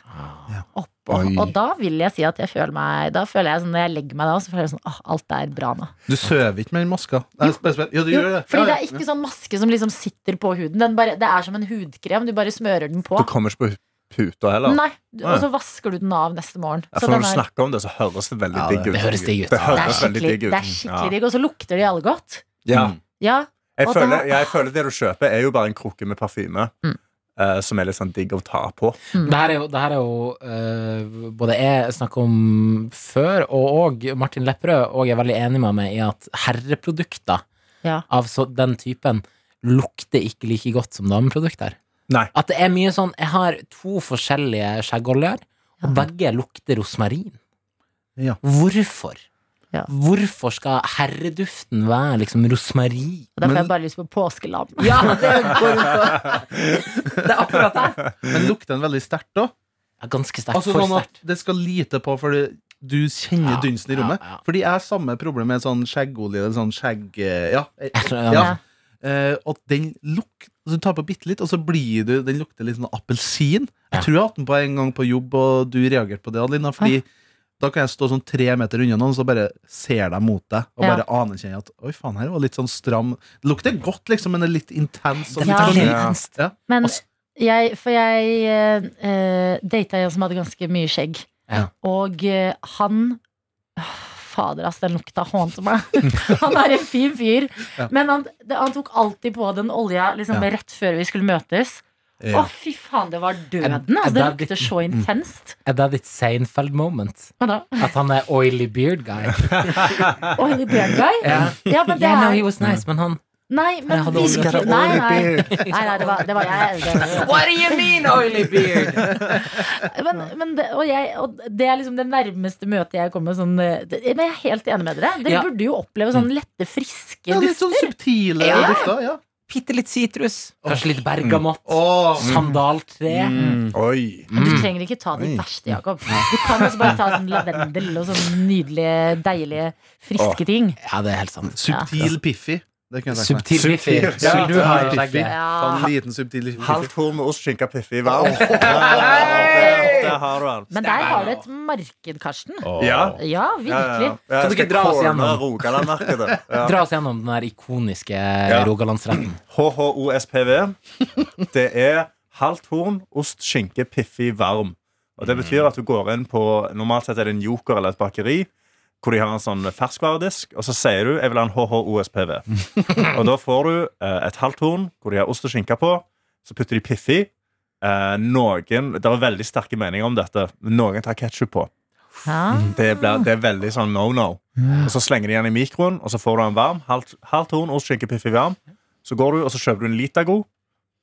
oppå.
Oi.
Og da vil jeg si at jeg føler meg Da føler jeg sånn når jeg legger meg da, så føler jeg sånn åh, alt er bra nå.
Du sover ikke med den maska. Nei, spe- spe- Ja, du
Jo,
gjør det.
fordi
Ja,
det
ja.
er ikke sånn maske som liksom sitter på huden. Den bare, det er som en hudkrem. Du bare smører den på.
Du kommer ikke på puta heller.
Nei, du- Og så vasker du den av neste morgen.
Ja,
Så
for når
den
du
er,
snakker om det, så høres det veldig
Ja,
digg ut.
det høres digg ut.
Det
det er
høres veldig
skikkelig,
digg ut.
det er skikkelig digg. Og så lukter de alle godt.
Ja. Ja.
Mm.
Ja,
Jeg,
Og
føler,
da-
jeg føler det du kjøper, er jo bare en krukke med parfyme.
Mm.
eh, som er litt sånn digg å ta på.
Det her er jo, det her er jo eh, både jeg snakket om før, og, og Martin Lepperød, og jeg er veldig enig med meg i at herreprodukter
Ja.
av så, den typen lukter ikke like godt som dameprodukter.
Nei.
At det er mye sånn Jeg har to forskjellige skjeggoljer, og begge lukter rosmarin.
Ja.
Hvorfor?
Ja.
Hvorfor skal herreduften være liksom rosmarin?
og da får
Men-
jeg bare lyst på påskelam.
Ja, det går rundt på Det er akkurat det.
Men lukter den veldig sterkt òg?
Ja, ganske sterkt.
Altså,
for
sånn at
sterkt.
det skal lite på fordi du kjenner
Ja,
dynsen i
ja,
rommet.
ja.
Fordi jeg har samme problem med sånn skjeggolje eller sånn skjegg... eh, Ja. eh,
Jeg tror-
ja. Eh, og den lukter Du tar på bitte litt, og så blir du Den lukter litt sånn appelsin.
Ja.
Jeg tror jeg hadde den på en gang på jobb, og du reagerte på det, Adelina. Fordi da kan jeg stå sånn tre meter unna noen, så bare ser de mot deg og
Ja.
bare anerkjenner at Oi, faen, her var litt sånn stram. Det lukter godt, liksom, men det er litt intens. Og
Det
Ja.
litt
er
sånn-
veldig intenst.
ja.
Men
Ass-
jeg, for jeg eh, eh, data en som hadde ganske mye skjegg.
Ja.
Og eh, han Åh, Fader, ass, den lukta hånte meg. han er en fin fyr.
Ja.
Men han, det, han tok alltid på den olja liksom,
Ja.
rett før vi skulle møtes. Å,
Ja.
fy faen, det var
Er-
døden.
er
Altså, det lukter
det ditt-
så intenst.
Er det ditt Seinfeld-moment?
Hva da?
At han er oily beard guy?
Å, Henny Beard Guy?
Ja.
Ja, men det
Yeah, no, he
er
was nice, men han
Nei, men
hadde
virkelig
aldri
Nei,
hatt
nei. nei, nei det, var, det var jeg. Det,
What do you mean, oily beard?
Men, men det, og jeg, og det er liksom det nærmeste møtet jeg kommer sånn eh, det, Men jeg er helt enig med dere. Dere
Ja.
burde jo oppleve sånn lette, friske
ja, litt
dufter.
sånn subtile
Ja.
dufter. Ja.
Bitte litt sitrus. Kanskje litt bergamott.
Mm.
Åh.
mm. Sandaltre.
Oi.
Du
Mm.
trenger ikke ta de
Oi.
verste, Jakob. Du kan også bare ta sånn lavendel og sånn nydelige, deilige, friske ting.
Ja, det er helt sant.
Subtil Piffi. Det kunne jeg tenkt meg.
Subtil Piffi.
Subtil.
Så
Ja.
du har
Piffi.
skjegget.
Ja.
Ta en liten subtil Piffi.
Halvt horn med ost, skinke, piffi i varm. Der, der, der har du den.
Men der har du et marked, Karsten.
Ja.
Ja, virkelig.
Kan du ikke dra oss gjennom?
Rogaland-markedet. Ja.
Dra oss gjennom den der ikoniske
Mm.
Rogalandsretten.
HHOSPV. Det er halvt horn, ost, skinke, piffi, varm. Og Det betyr at du går inn på Normalt sett er det en joker eller et bakeri. Hvor de har en sånn ferskvaredisk, og så sier du 'jeg vil ha en HHOSPV'. og da får du eh, et halvt horn hvor de har ost og skinke på. Så putter de piffi. Eh, noen, Det er veldig sterke meninger om dette. men Noen tar ketsjup på.
Ja.
Det, blir, det er veldig sånn no no. Og så slenger de den i mikroen, og så får du den varm. Halvt, halvt horn, ost, skinke, piffi varm. Så går du, og så kjøper du en Litago.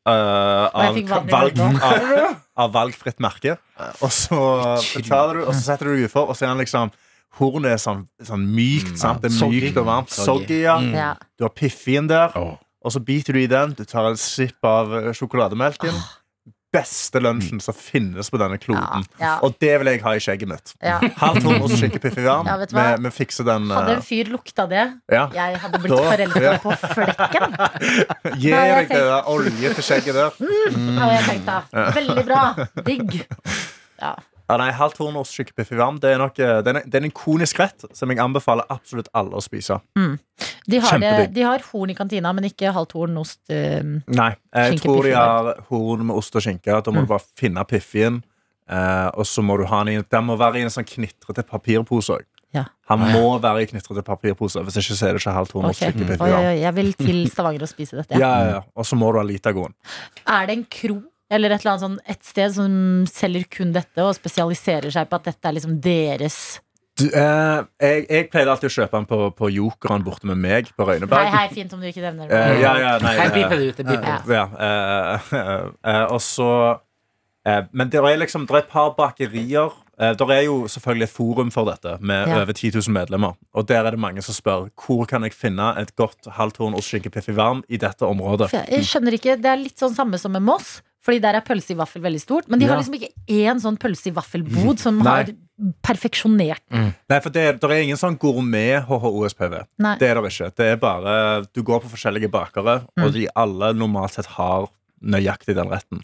eh, av,
jeg fikk vann i
valg,
munnen
av, av valgfritt merke. Og så betaler du, og så setter du deg utfor, og så er den liksom Hornet er sånn, sånn mykt. sant? Det er
soggy.
mykt og varmt.
Soggy.
Soggy, ja.
Ja.
Du har piffien der, og så biter du i den. Du tar en sipp av eh, sjokolademelken. beste lunsjen som finnes på denne kloden.
Ja, ja.
Og det vil jeg ha i skjegget mitt.
Ja.
Halvt hår og skinkepiffi varm.
Ja, vet du
Vi
hva?
vi fikser den.
Hadde
eh,
en fyr lukta det,
Ja.
jeg hadde blitt
Da-
forelska på flekken.
Gi
Nei, jeg
deg det der olje til skjegget der.
Hadde jeg tenkt da. Veldig bra. Digg. Ja.
Ja, nei, Halvt horn og skinkepiffi varm det er, nok, eh, det, er, det er en ikonisk rett som jeg anbefaler absolutt alle å spise.
De har, det,
Kjempedigg.
de har horn i kantina, men ikke halvt horn ost. eh,
Nei, Jeg
Skinkepiffi
tror de
varm.
har horn med ost og skinke. Da
Mm.
må du bare finne piffien. eh, og så må du ha den i Den må være i en sånn knitrete papirpose òg.
Ja.
Han må være i knitrete papirpose. Hvis ikke så er det ikke halvt horn og
ok.
skinkepiffi
Oi, oi,
varm.
oi, jeg vil til Stavanger og spise dette.
Ja,
Ja.
ja, ja. Og så må du ha Litagoen.
Er det en kro eller et, eller annet sånn, et sted som selger kun dette, og spesialiserer seg på at dette er liksom deres
Du, eh, jeg, jeg pleide alltid å kjøpe den på, på Jokeren borte med meg på
Hei,
Røyneberg.
hei, fint om du ikke nevner det.
Eh, ja, ja, nei,
Her
eh,
beeper det ut. Det beeper.
Ja.
Ja, eh, eh, og så eh, Men det er liksom det er et par bakerier. Eh, det er jo selvfølgelig et forum for dette med
Ja.
over 10 000 medlemmer. Og der er det mange som spør hvor kan jeg finne et godt halvtorn ostskinkepiffi varm i dette området.
For Jeg jeg skjønner ikke, Det er litt sånn samme som med Moss, Fordi der er pølse i vaffel veldig stort. Men de har
Ja. Mm.
liksom ikke én sånn pølse i vaffelbod som
Nei.
har perfeksjonert
Nei, for det, det er ingen sånn gourmet HHOSPV.
Nei.
Det er det ikke. Det er bare Du går på forskjellige bakere,
Mm.
og de alle normalt sett har nøyaktig den retten.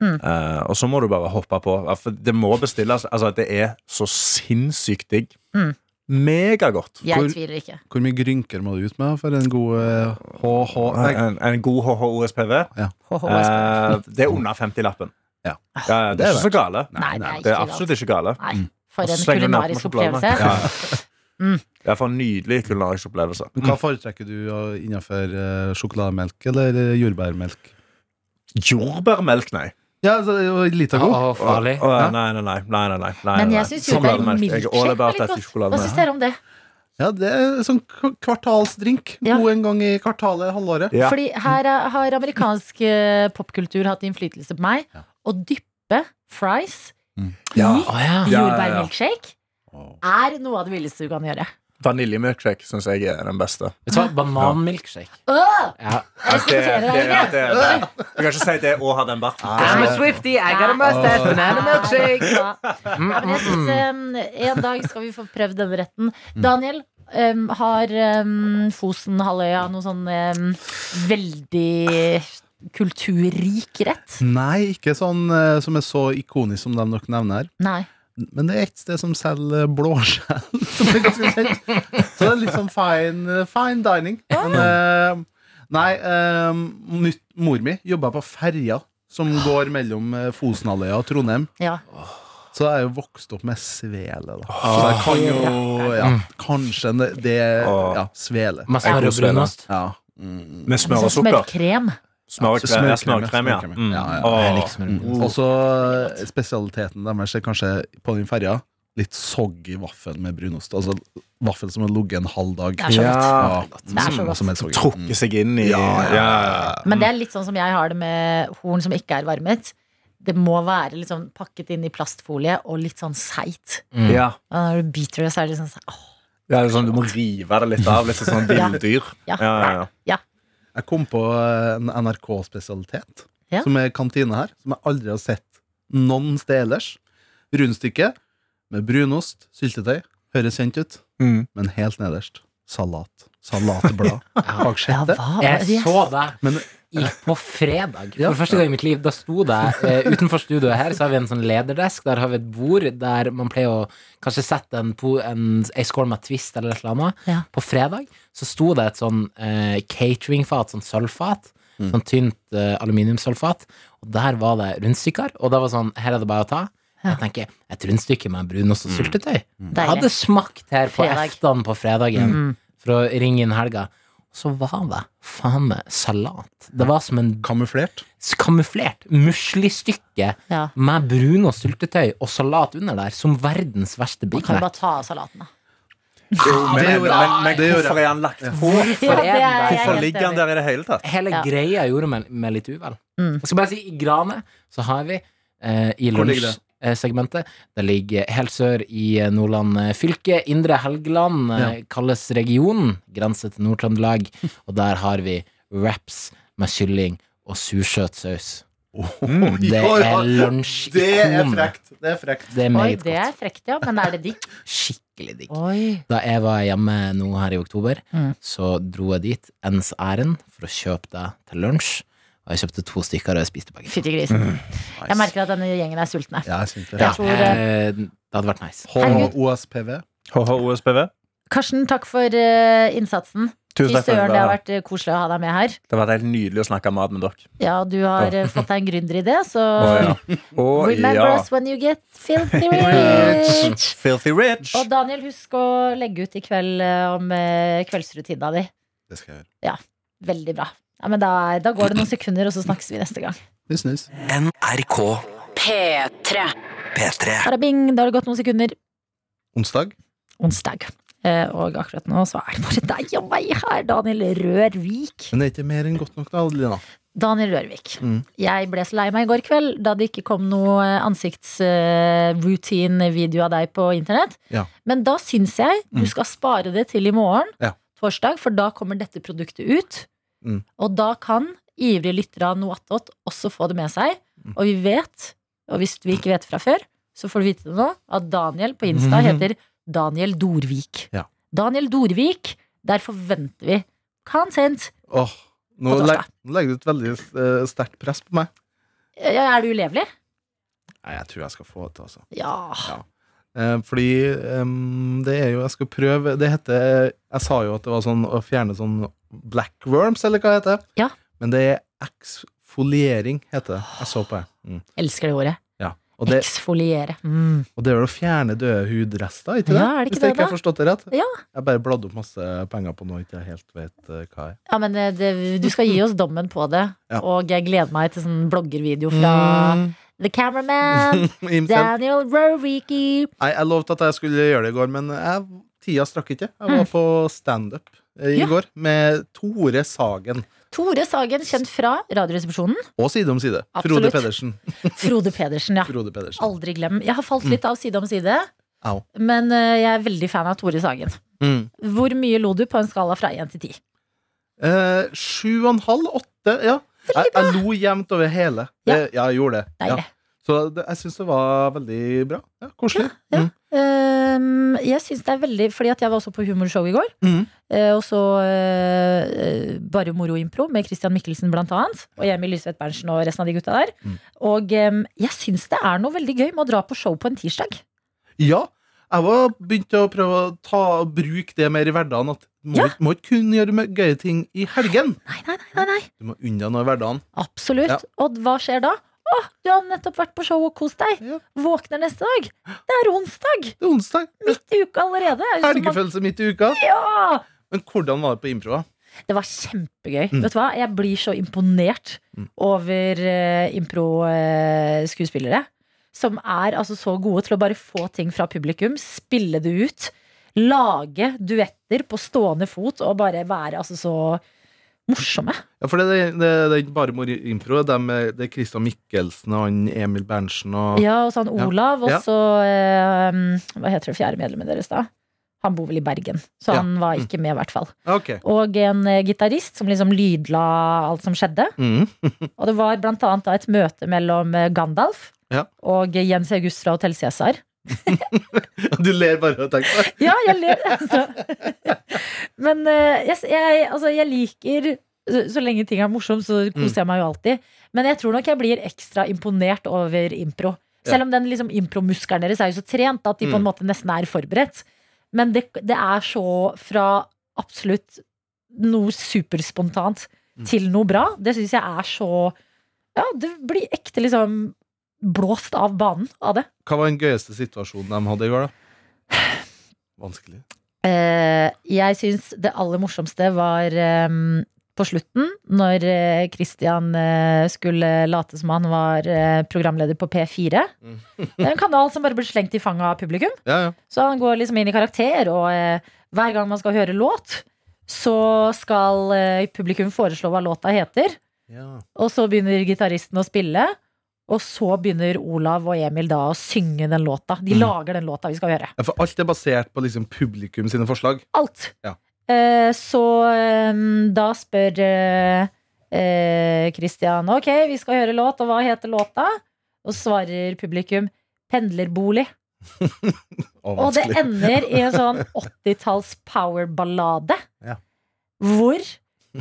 Mm.
Eh, og så må du bare hoppe på. Ja, For det må bestilles. Altså, det er så sinnssykt digg.
Mm.
Megagodt.
Jeg
Hvor-
tviler ikke.
Hvor mye grynker må du ut med for en god eh, HH? Nei,
En, en god HHOSPV.
HHS.
Eh, det er under 50-lappen.
Ja.
Ja, det er ikke så gale.
Nei, det er
Det er
ikke galt.
absolutt ikke gale.
Nei,
Mm. Og
for en
så slenger du den opp med
kulinarisk
sjokoladen.
opplevelse.
Ja.
Mm.
Det er for en nydelig kulinarisk opplevelse.
men Hva foretrekker du eh, innenfor eh, sjokolademelk eller eh, jordbærmelk?
Jordbærmelk, nei.
Ja, så, det er jo litt av god.
Å, farlig.
Å,
Ja.
nei, nei, nei, nei, nei, nei, nei.
Men
nei.
jeg syns jordbær
Sjokolademelk. Jeg er all
milkshake
about
var litt godt.
that i
Hva syns
sjokolademelk.
dere om det?
Ja, det er sånn k- kvartalsdrink.
Ja.
God en gang i kvartalet, halvåret.
Ja.
Fordi her er, har amerikansk eh, popkultur hatt innflytelse på meg.
Ja.
Å dyppe fries
Ja.
i
Å, ja.
Ja, ja, ja.
jordbærmilkshake er noe av det villeste du kan gjøre.
Vaniljemilkshake syns jeg er den beste.
Vet du hva? Bananmilkshake.
Åh,
Ja.
jeg respekterer deg
ja,
ikke!
det, det. Du kan ikke si det og ha den barten.
Ah.
I'm a
Swifty, I
got a
mustache,
Nei, ja,
Mm,
men jeg synes, eh, en dag skal vi få prøvd denne retten. Daniel, eh, har eh, Fosen, Halvøya noe sånn eh, veldig kulturrik rett?
Nei, ikke sånn eh, som er så ikonisk som de dere nevner her.
Nei.
Men det er et sted som selger blåskjell, som er ganske kjent. Så det er litt sånn fine, fine dining. Men, eh, nei, eh, nytt, mor mi jobba på ferja som går mellom eh, Fosenhalvøya og Trondheim.
Ja.
Så jeg er jo vokst opp med svele, da. Så jeg kan jo ja, Kanskje en- det Ja, svele.
Med smør og brunost.
Ja. Mm.
Med
Sånn
smør og sukker.
Smørkrem.
Smør og
Smørkrem,
krem, smørkrem, ja.
smørkrem.
Mm.
Ja, ja.
Åh.
Jeg liker smør og brunost.
Og så spesialiteten deres er kanskje på den ferja litt soggy vaffel med brunost. Altså vaffel som har ligget en halv dag.
Det er så godt.
Ja.
Det er så godt.
Som er soggy.
Trukke seg inn i
Ja, ja,
ja.
Men det er litt sånn som jeg har det med horn som ikke er varmet. Det må være litt sånn pakket inn i plastfolie og litt sånn seigt.
Mm.
Ja.
Og Når du biter det, så er det litt sånn se- åh,
Ja, det er sånn, du må rive det litt av. Litt sånn
Ja.
villdyr.
Ja.
Ja, ja, ja.
Jeg kom på en NRK-spesialitet
Ja.
som er kantine her, som jeg aldri har sett noen sted ellers. Rundstykke med brunost, syltetøy. Høres kjent ut,
Mm.
men helt nederst salat. Salatblad bak
Ja,
skjettet.
hva?
Jeg
Yes.
så deg
Men-
i, på fredag. For første gang i mitt liv. Da sto det eh, utenfor studioet her, så har vi en sånn lederdesk. Der har vi et bord der man pleier å kanskje sette en, po- en, ei skål med Twist eller et eller annet.
Ja.
På fredag så sto det et sånn eh, cateringfat, sånn sølvfat. Sånn tynt eh, aluminiumsølvfat. Og der var det rundstykker. Og det var sånn, her er det bare å ta. Jeg tenker, Et rundstykke med brunost og syltetøy. Det hadde
Deilig.
smakt her på
Fredag.
eftan på fredagen
Mm.
for å ringe inn helga. Så var det faen meg salat. Det var som en
Kamuflert.
kamuflert muslistykke
Ja.
med brun og syltetøy og salat under der, som verdens verste
Man
Big
kan jo
Mac.
bare ta av salaten, da.
Men,
det
men,
gjorde jeg.
men
Det gjorde jeg.
hvorfor er han lagt på?
Hvorfor er den der?
jeg
Hvorfor
helt
ligger han
enig.
der i det hele tatt?
Hele
Ja.
greia gjorde meg, meg litt uvel.
Mm.
Jeg skal bare si, i Grane så har vi eh, i
Hvor ligger det?
lunsjsegmentet Det ligger helt sør i eh, Nordland eh, fylke. Indre Helgeland eh, kalles regionen. Grense til Nord-Trøndelag. Og der har vi wraps med kylling og sursøt saus.
Oi,
Det
oi,
er
oi.
lunsj i
Det er
kone.
frekt. Det er frekt.
Det er
Oi,
meget
det er frekt, ja. Men er det digg?
godt. Skikkelig digg.
Oi.
Da jeg var hjemme nå her i oktober,
Mm.
så dro jeg dit ens ærend for å kjøpe det til lunsj. Og jeg kjøpte to stykker, og jeg spiste begge.
Fytti
Mm.
grisen. Jeg merker at denne gjengen er sultne.
Ja, jeg syns det.
Ja. Jeg tror,
eh, det hadde vært nice.
Herregud.
HOSPV.
HHOSPV.
Karsten, takk for eh, innsatsen. Fy
Tusen takk for
søren, det
at du
har
var her.
vært eh, koselig å ha deg med her.
Det har vært helt nydelig å snakke mat med dere.
Ja, du har eh, fått deg en gründeridé, så
Å
remember
ja.
us when you get filthy
Rich.
rich.
Filthy rich.
Og Daniel, husk å legge ut i kveld eh, om eh, kveldsrutina di.
Det skal jeg gjøre.
Veldig bra. Ja, men da, da går det noen sekunder, og så snakkes vi neste gang.
Vi snus.
NRK
P3.
P3.
Bare bing, da har det gått noen sekunder.
Onsdag.
Onsdag. Eh, Og akkurat nå så er det bare deg og meg her, Daniel Rørvik.
Men det er ikke mer enn godt nok, da, Adelina.
Daniel Rørvik.
Mm.
Jeg ble så lei meg i går kveld da det ikke kom noe ansiktsroutine-video av deg på internett.
Ja.
Men da syns jeg du
Mm.
skal spare det til i morgen,
Ja.
torsdag, for da kommer dette produktet ut.
Mm.
Og da kan ivrige lyttere av noe attåt også få det med seg.
Mm.
Og vi vet, og hvis vi ikke vet fra før, så får du vite det nå, at Daniel på Insta heter Daniel Dorvik.
Mhm. Ja.
Daniel Dorvik, der forventer vi content.
Åh, nå,
På torsdag.
legg, nå legger du et veldig eh, sterkt press på meg.
Ja, Er du ulevelig?
Nei, jeg tror jeg skal få det til, altså.
Ja.
Eh, fordi ehm, det er jo Jeg skal prøve Det heter Jeg sa jo at det var sånn å fjerne sånn black worms, eller hva det heter.
Ja.
Men det er eksfoliering, heter det. Jeg så på det. Mm.
Elsker det ordet.
Og, det,
Eksfoliere. Mm.
og det er vel å fjerne døde hudrester, ikke det?
Ja, er det ikke
Hvis jeg
det
ikke
da?
har forstått det rett?
Ja.
Jeg bare bladde opp masse penger på noe jeg ikke helt vet eh, hva er.
Ja, men eh, det, du skal gi oss dommen på det.
Ja. Mm.
Og jeg gleder meg til sånn bloggervideo fra The Cameraman,
Imsen.
Daniel Rowiki.
Nei, jeg lovte at jeg skulle gjøre det i går, men jeg, tida strakk ikke. Jeg var på standup eh, i
Mm. Ja.
går med Tore Sagen.
Tore Sagen, kjent fra Radioresepsjonen.
Og Side om side.
Absolutt.
Frode Pedersen.
Frode Pedersen, ja.
Frode Pedersen.
Aldri glem. Jeg har falt litt av side om side,
Au.
men eh, jeg er veldig fan av Tore Sagen.
Mm.
Hvor mye lo du på en skala fra 1 til 10?
Eh, sju og en halv, åtte, ja. Jeg, jeg lo jevnt over hele.
Ja.
Det, ja, jeg gjorde det. Ja.
Deilig.
Så det, jeg syns det var veldig bra. Ja, koselig.
Ja, ja.
Mm.
Ehm, jeg syns det er veldig Fordi at jeg var også på humorshow i går.
Mhm.
eh, og så eh, eh, Bare Moro Impro med Christian Mikkelsen blant annet. Og Emil Lysvedt Berntsen og resten av de gutta der.
Mhm.
Og ehm, jeg syns det er noe veldig gøy med å dra på show på en tirsdag.
Ja. Jeg var begynt å prøve å ta, bruke det mer i hverdagen. At må,
Ja.
må ikke kun gjøre mø- gøye ting i helgen.
Nei, nei, nei, nei, nei.
Du må unna noe i hverdagen.
Absolutt.
Ja.
Og hva skjer da? Å, du har nettopp vært på show og kost deg.
Ja.
Våkner neste dag. Det er onsdag!
Det er onsdag.
Midt i uka allerede. Det er jo som at-
Helgefølelse midt i uka.
Ja!
Men hvordan var det på improa?
Det var kjempegøy.
Mm.
Vet du hva? Jeg blir så imponert
Mm.
over uh, impro-skuespillere. som er altså så gode til å bare få ting fra publikum, spille det ut. Lage duetter på stående fot og bare være altså så morsomme.
Ja, for det, det, det, det er ikke bare mor impro. Det er, med, det er Christian Mikkelsen og han Emil Berntsen og
Ja, og så han
Ja.
Olav, og
Ja.
så eh, Hva heter det fjerde medlemmet deres, da? Han bor vel i Bergen, så
Ja. Mm.
han var ikke med, i hvert fall.
Ok.
Og en eh, gitarist som liksom lydla alt som skjedde.
Mm.
Og det var blant annet da et møte mellom eh, Gandalf
Ja.
og Jens August fra Hotell Cæsar.
Du ler bare av å tenke på det.
Ja, jeg ler, altså. Men eh, jeg, jeg, altså, jeg liker så, så lenge ting er morsomt, så koser jeg meg jo alltid. Men jeg tror nok jeg blir ekstra imponert over impro. Selv om den liksom, impromuskelen deres er jo så trent at de på en måte nesten er forberedt. Men det, det er så fra absolutt noe superspontant til noe bra. Det syns jeg er så Ja, det blir ekte liksom blåst av banen av det.
Hva var den gøyeste situasjonen de hadde i går, da? Vanskelig.
Eh, jeg syns det aller morsomste var eh, på slutten, når eh, Christian eh, skulle late som han var eh, programleder på P4.
Mm.
Det er en kanal som bare blir slengt i fanget av publikum.
Ja, ja.
Så han går liksom inn i karakter, og eh, hver gang man skal høre låt, så skal eh, publikum foreslå hva låta heter.
ja.
Og så begynner gitaristen å spille. Og så begynner Olav og Emil da å synge den låta. De
Mm.
lager den låta vi skal høre.
Ja, For alt er basert på liksom publikum sine forslag.
Alt.
Ja.
Eh, så eh, da spør eh, eh, Christian Ok, vi skal høre låt, og hva heter låta? Og svarer publikum Pendlerbolig. Og det
vanskelig.
ender i en sånn 80-talls powerballade.
Ja.
Hvor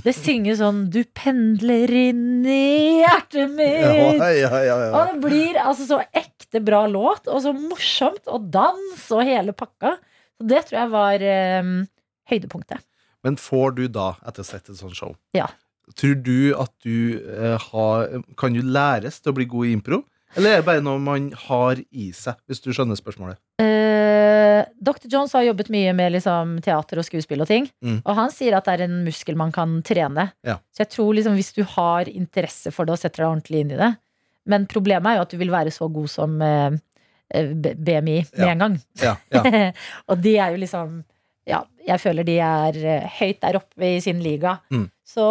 det synges sånn Du pendler inn i hjertet mitt.
Ja, ja, ja, ja.
Og det blir altså så ekte bra låt, og så morsomt, og dans og hele pakka. Så det tror jeg var eh, høydepunktet.
Men får du da, etter å ha sett et sånt show
Ja.
Tror du at du eh, har, kan du læres til å bli god i impro? Eller er det bare noe man har i seg, hvis du skjønner spørsmålet?
Eh, Dr. Jones har jobbet mye med liksom, teater og skuespill og ting.
Mm.
Og han sier at det er en muskel man kan trene.
Ja.
Så jeg tror liksom, hvis du har interesse for det og setter deg ordentlig inn i det Men problemet er jo at du vil være så god som eh, eh, B- BMI med
Ja.
en gang.
Ja, ja.
og de er jo liksom Ja, jeg føler de er eh, høyt der oppe i sin liga.
Mm.
Så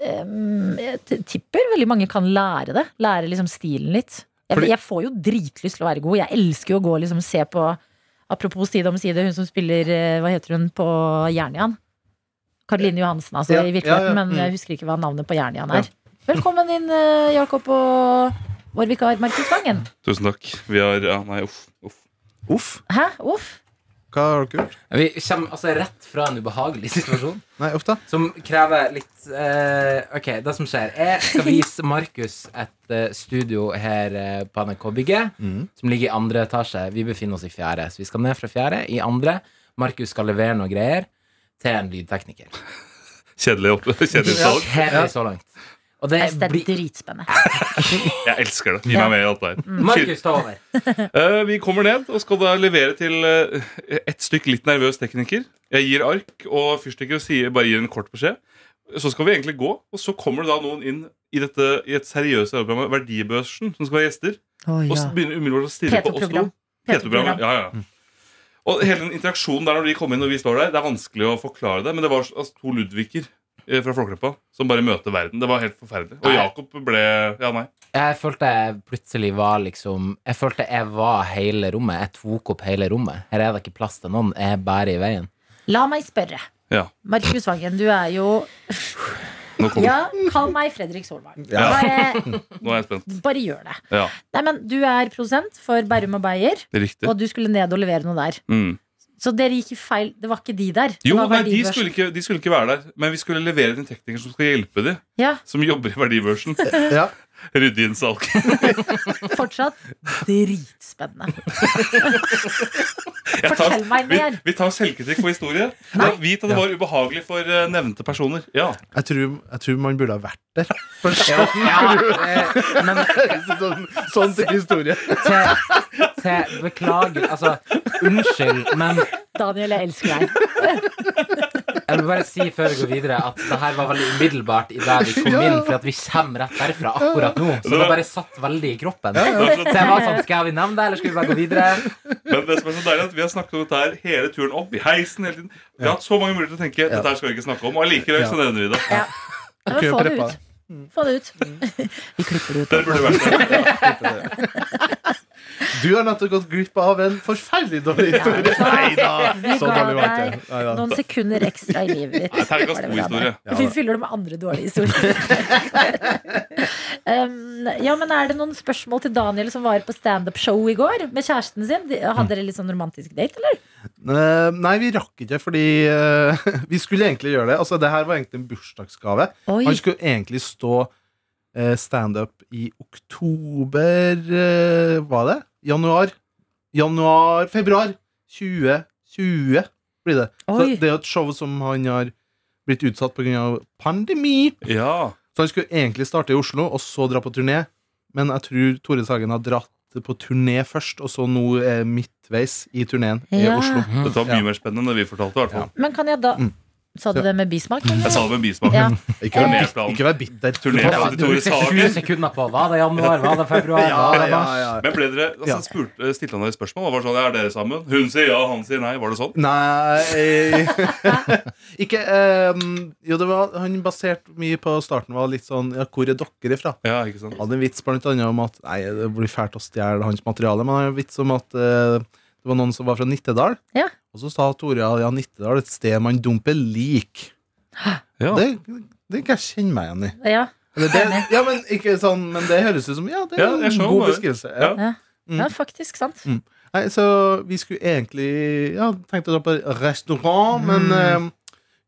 em, jeg t- tipper veldig mange kan lære det. Lære liksom stilen litt. Jeg,
Fordi-
jeg får jo dritlyst til å være god. Jeg elsker jo å gå og liksom se på Apropos side om side, hun som spiller eh, Hva heter hun på Jernian? Karoline Johansen, altså,
Ja,
i virkeligheten.
ja, ja, mm.
Men jeg husker ikke hva navnet på Jernian er. Velkommen inn, eh, Jakob og vår vikar Markus Vangen.
Tusen takk. Vi har Ja, nei, uff. uff.
Uff,
Hæ? Uff.
hva har dere gjort?
Vi kommer altså rett fra en ubehagelig situasjon.
Nei, uff da.
Som krever litt eh, Ok, det som skjer Jeg skal vise Markus et eh, studio her eh, på NRK-bygget Som ligger i andre etasje Vi befinner oss i fjerde Så vi skal ned fra fjerde i andre Markus skal levere noen greier Til en lydtekniker
Kjedelig opp- kjedelig salg.
Kjedelig så langt Og det
Jeg synes det er
blir
dritspennende.
Jeg elsker det. Gi meg med i alt det her.
Mm. Markus ta over
Eh, vi kommer ned og skal da levere til eh, et stykk litt nervøs tekniker. Jeg gir ark og fyrstikker og sier, bare gir en kort beskjed. Så skal vi egentlig gå, og så kommer det da noen inn i dette i et seriøst arbeidsprogram, Verdibørsen, som skal være gjester. Og s- begynner umiddelbart å stirre på oss to.
P2-program.
P2-programmet, ja, ja, ja. Og hele den interaksjonen der når de kom inn og vi står der, det er vanskelig å forklare det, men det var altså, to Ludviger eh, fra Flåkleppa som bare møter verden. Det var helt forferdelig. Og
Nei.
Jakob ble Ja, nei.
Jeg følte jeg plutselig var liksom Jeg følte jeg var hele rommet Jeg tok opp hele rommet Her er det ikke plass til noen Jeg er bare i veien
La meg spørre.
Ja.
Markus Vangen, du er jo
Nå, kom,
Ja, kall meg Fredrik Solvang.
Ja.
Bare,
nå er jeg spent.
bare gjør det.
Ja,
Nei, men Du er produsent for Bærum og Beyer,
det er riktig.
og du skulle ned og levere noe der.
Mm.
Så dere gikk i feil Det var ikke de der. Det
Jo,
var
nei, de
verdibørs.
skulle, ikke, de skulle ikke være der, men vi skulle levere til en tekniker som skal hjelpe dem,
Ja,
som jobber i verdibørsen.
Ja.
Rydde inn salg.
fortsatt dritspennende.
Jeg
Fortell meg
vi,
mer.
vi tar selvkritikk på historie. Men Vit at det var ubehagelig for eh, nevnte personer. Ja.
Jeg tror, jeg tror man burde ha vært der. sånn Først.
Ja, eh, men
sånn, sånn til historie.
til, til Beklager, altså Unnskyld, men
Daniel, jeg elsker deg.
Jeg vil bare si før vi går videre at det her var veldig umiddelbart i det vi kom inn, for at vi kommer rett derfra akkurat nå. Så det bare satt veldig i kroppen. Så jeg var sånn, skal vi nevne det, eller skal vi bare gå videre?
Men det som er så deilig er at Vi har snakket om dette her hele turen opp, i heisen hele tiden. Vi har hatt så mange muligheter til å tenke dette her skal vi ikke snakke om. Og allikevel så nevner vi det.
Ja, men
Ok,
få det
preppa.
ut. Få det ut. Vi klipper det ut.
Det burde vært det.
Du har nettopp gått glipp av en forferdelig dårlig historie. Nei da.
Vi
Så dårlig var
ga deg
det ikke. Nei da.
noen sekunder ekstra i livet ditt.
Nei,
Var
Terningkast
det
god
bra,
historie.
da? Vi fyller det med andre dårlige historier. um, ja, men Er det noen spørsmål til Daniel som var på standup-show i går med kjæresten sin? De-
Mm.
Hadde dere litt sånn romantisk date, eller?
Eh, Nei, vi rakk ikke, fordi eh, vi skulle egentlig gjøre det. Altså, det her var egentlig en bursdagsgave.
Oi.
Han skulle egentlig stå eh, standup i oktober eh, Var det? Januar? Januar Februar 2020 blir det. Så
Oi.
det er jo et show som han har blitt utsatt pga. pandemi.
Ja.
Så han skulle egentlig starte i Oslo og så dra på turné, men jeg tror Tore Sagen har dratt på turné først, og så nå eh, midtveis i turneen i
Ja.
Oslo.
Dette var mye mer spennende enn det vi fortalte. i hvert fall
Men kan jeg da
Mm.
Sa du
Så-
det med bismak? eller?
Jeg sa det med bismak.
Ja.
Ikke vær,
Turnéplan.
ikke vær bitter.
Turné-
Ja,
Det var
sju
Sagen.
sekunder på. Var det januar? Var det februar? Var
ja,
det
ja,
mars?
ja.
Men ble dere, altså,
Ja.
spurte, Stilte han dere spørsmål? Var det sånn, Er dere sammen? Hun sier ja, han sier nei. Var det sånn?
Nei Ikke eh, Jo, det var Han baserte mye på starten var litt sånn Ja, hvor er dere ifra?
Ja, ikke sant?
Han hadde en vits blant annet om at Nei, det blir fælt å stjele hans materiale, men han hadde en vits om at eh, det var noen som var fra Nittedal.
Ja.
Og så sa Tore ja, ja, Nittedal er et sted man dumper lik.
Ja.
Det Den kan jeg kjenne meg igjen i.
Ja.
Eller det, ja, men ikke sånn Men det høres ut som Ja, det er
Ja, jeg
en
skjønner
god
bare.
beskrivelse.
Ja.
Ja.
Mm.
ja, faktisk. Sant.
Nei, så vi skulle egentlig Ja, tenkte å dra på
Mm.
restaurant, men eh,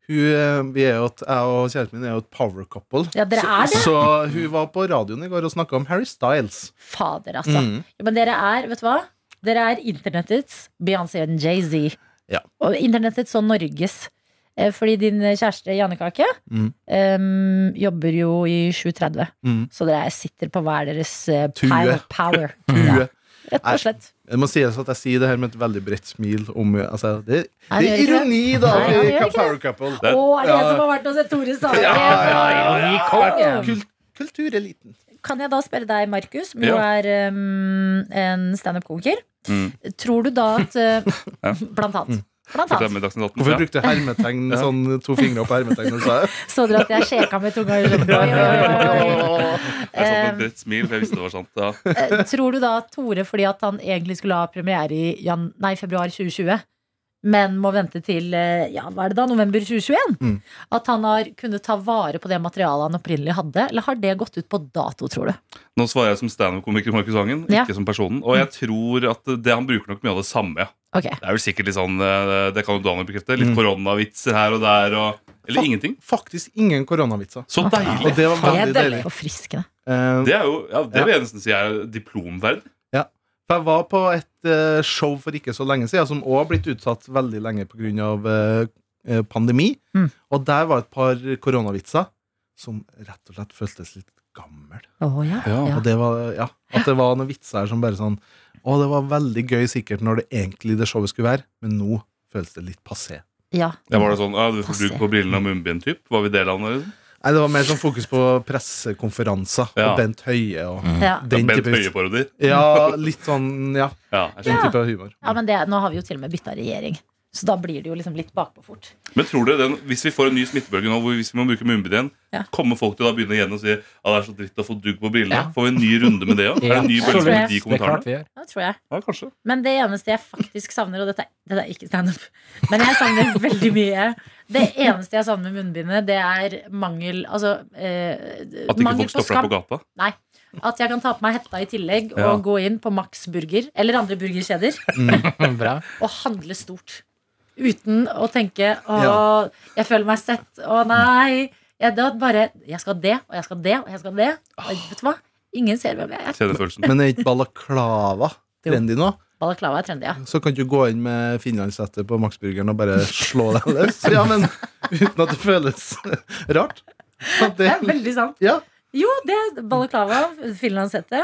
hun, eh, vi er jo et, jeg og kjæresten min er jo et power couple.
Ja, dere er det.
Så hun var på radioen i går og snakka om Harry Styles.
Fader, altså.
Mm.
Ja, men dere er, vet du hva? Dere er internettets Beyoncé og Jay-Z.
Ja.
Og internettets og Norges. Eh, Fordi din kjæreste Jannekake
Mm.
em, jobber jo i 7.30.
Mm.
Så dere sitter på hver deres eh,
Tue.
pile of power.
Hun
Ja, rett og slett.
Det må sies at jeg sier det her med et veldig bredt smil. Om, altså, det,
Nei, det gjør
det er
ikke det.
ironi, da.
Nei, det
vi
gjør
kan
ikke
power couple.
Å,
Det-
er det jeg
Ja.
som har vært og sett Tore Sagen?
Ja, ja,
I kongen.
Kult, kultureliten.
Kan jeg da spørre deg, Markus, som jo
Ja.
er em, en standup-komiker.
Mm.
Tror du da at eh,
Ja.
Blant
Mm.
annet. Blant
Fortell
annet.
meg Dagsnytt 18.
Hvorfor
Ja.
brukte du hermetegn, sånn to fingre opp på hermetegn? når du sa det?
Så dere at jeg sjekka med tunga i lomma? Oi, oi, oi, oi.
Jeg satt med et bredt smil, for jeg visste det var sant. Ja.
Eh, Tror du da at Tore, fordi at han egentlig skulle ha premiere i jan nei, februar 2020, men må vente til eh, ja, hva er det da, november 2021,
Mm.
at han har kunnet ta vare på det materialet han opprinnelig hadde? Eller har det gått ut på dato, tror du?
Nå svarer jeg som standup-komiker Markus Vangen,
Ja.
ikke som personen. Og jeg tror at det han bruker nok mye av det samme. ja.
Ok,
Det er vel sikkert litt sånn, eh, det kan jo Daniel bekrefte, litt koronavitser her og der, og, eller
Fuck.
ingenting.
Faktisk ingen koronavitser.
Så
Og
deilig!
det var veldig deilig.
Forfriskende.
Eh,
Det er jo, ja, det
Ja.
vil jeg nesten si er diplomverd.
For jeg var på et eh, show for ikke så lenge siden, som også har blitt utsatt veldig lenge pga. Uh, pandemi.
Mm.
Og der var et par koronavitser som rett og slett føltes litt gammel.
Å ja.
Ja,
ja.
Og det var, ja, at det var noen vitser her som bare sånn Å, det var veldig gøy sikkert når det egentlig det showet skulle være, men nå føles det litt passé.
ja.
Jeg var da sånn, ja, du får
Passer.
bruk på brillene og munnbind-typ. Var vi del av det? liksom?
Nei, det var mer sånn fokus på pressekonferanser
Ja.
og Bent Høie og
ja.
Det
den
er Bent
type vits.
Høie-parodier.
Ja, litt sånn, ja.
Ja, jeg
Den
skjønner.
type humor.
Ja, men det, nå har vi jo til og med bytta regjering. Så da blir det jo liksom litt bakpå fort.
Men tror dere den, hvis vi får en ny smittebølge nå, hvor hvis vi må bruke munnbind igjen,
Ja.
kommer folk til å da begynne igjen og si at det er så dritt å få dugg på brillene? Får vi en ny runde med det òg? Er det en ny bølge
Absolutt.
med de
Det er klart
kommentarene?
vi gjør.
Ja, tror jeg.
Ja, kanskje.
Men det eneste jeg faktisk savner, og dette, dette er ikke standup, men jeg savner veldig mye Det eneste jeg savner med munnbindet, det er mangel Altså eh,
At ikke folk stopper deg på gata.
Nei. At jeg kan ta på meg hetta i tillegg og
Ja.
gå inn på Max Burger eller andre burgerkjeder
Bra.
og handle stort. Uten å tenke 'Å,
Ja.
jeg føler meg sett. Å, nei.' Jeg, da bare, jeg skal ha det, og jeg skal ha det, og jeg skal ha det. Og vet du hva? Ingen ser hvem jeg er.
Kjenner følelsen.
Men er ikke balaklava trendy nå?
Balaklava er trendy, ja.
Så kan du gå inn med finlandshette på Maxburgeren og bare slå deg løs. Ja, men uten at det føles rart. At
Det
det,
er veldig sant.
ja.
Jo, det er balaklava, finlandshette.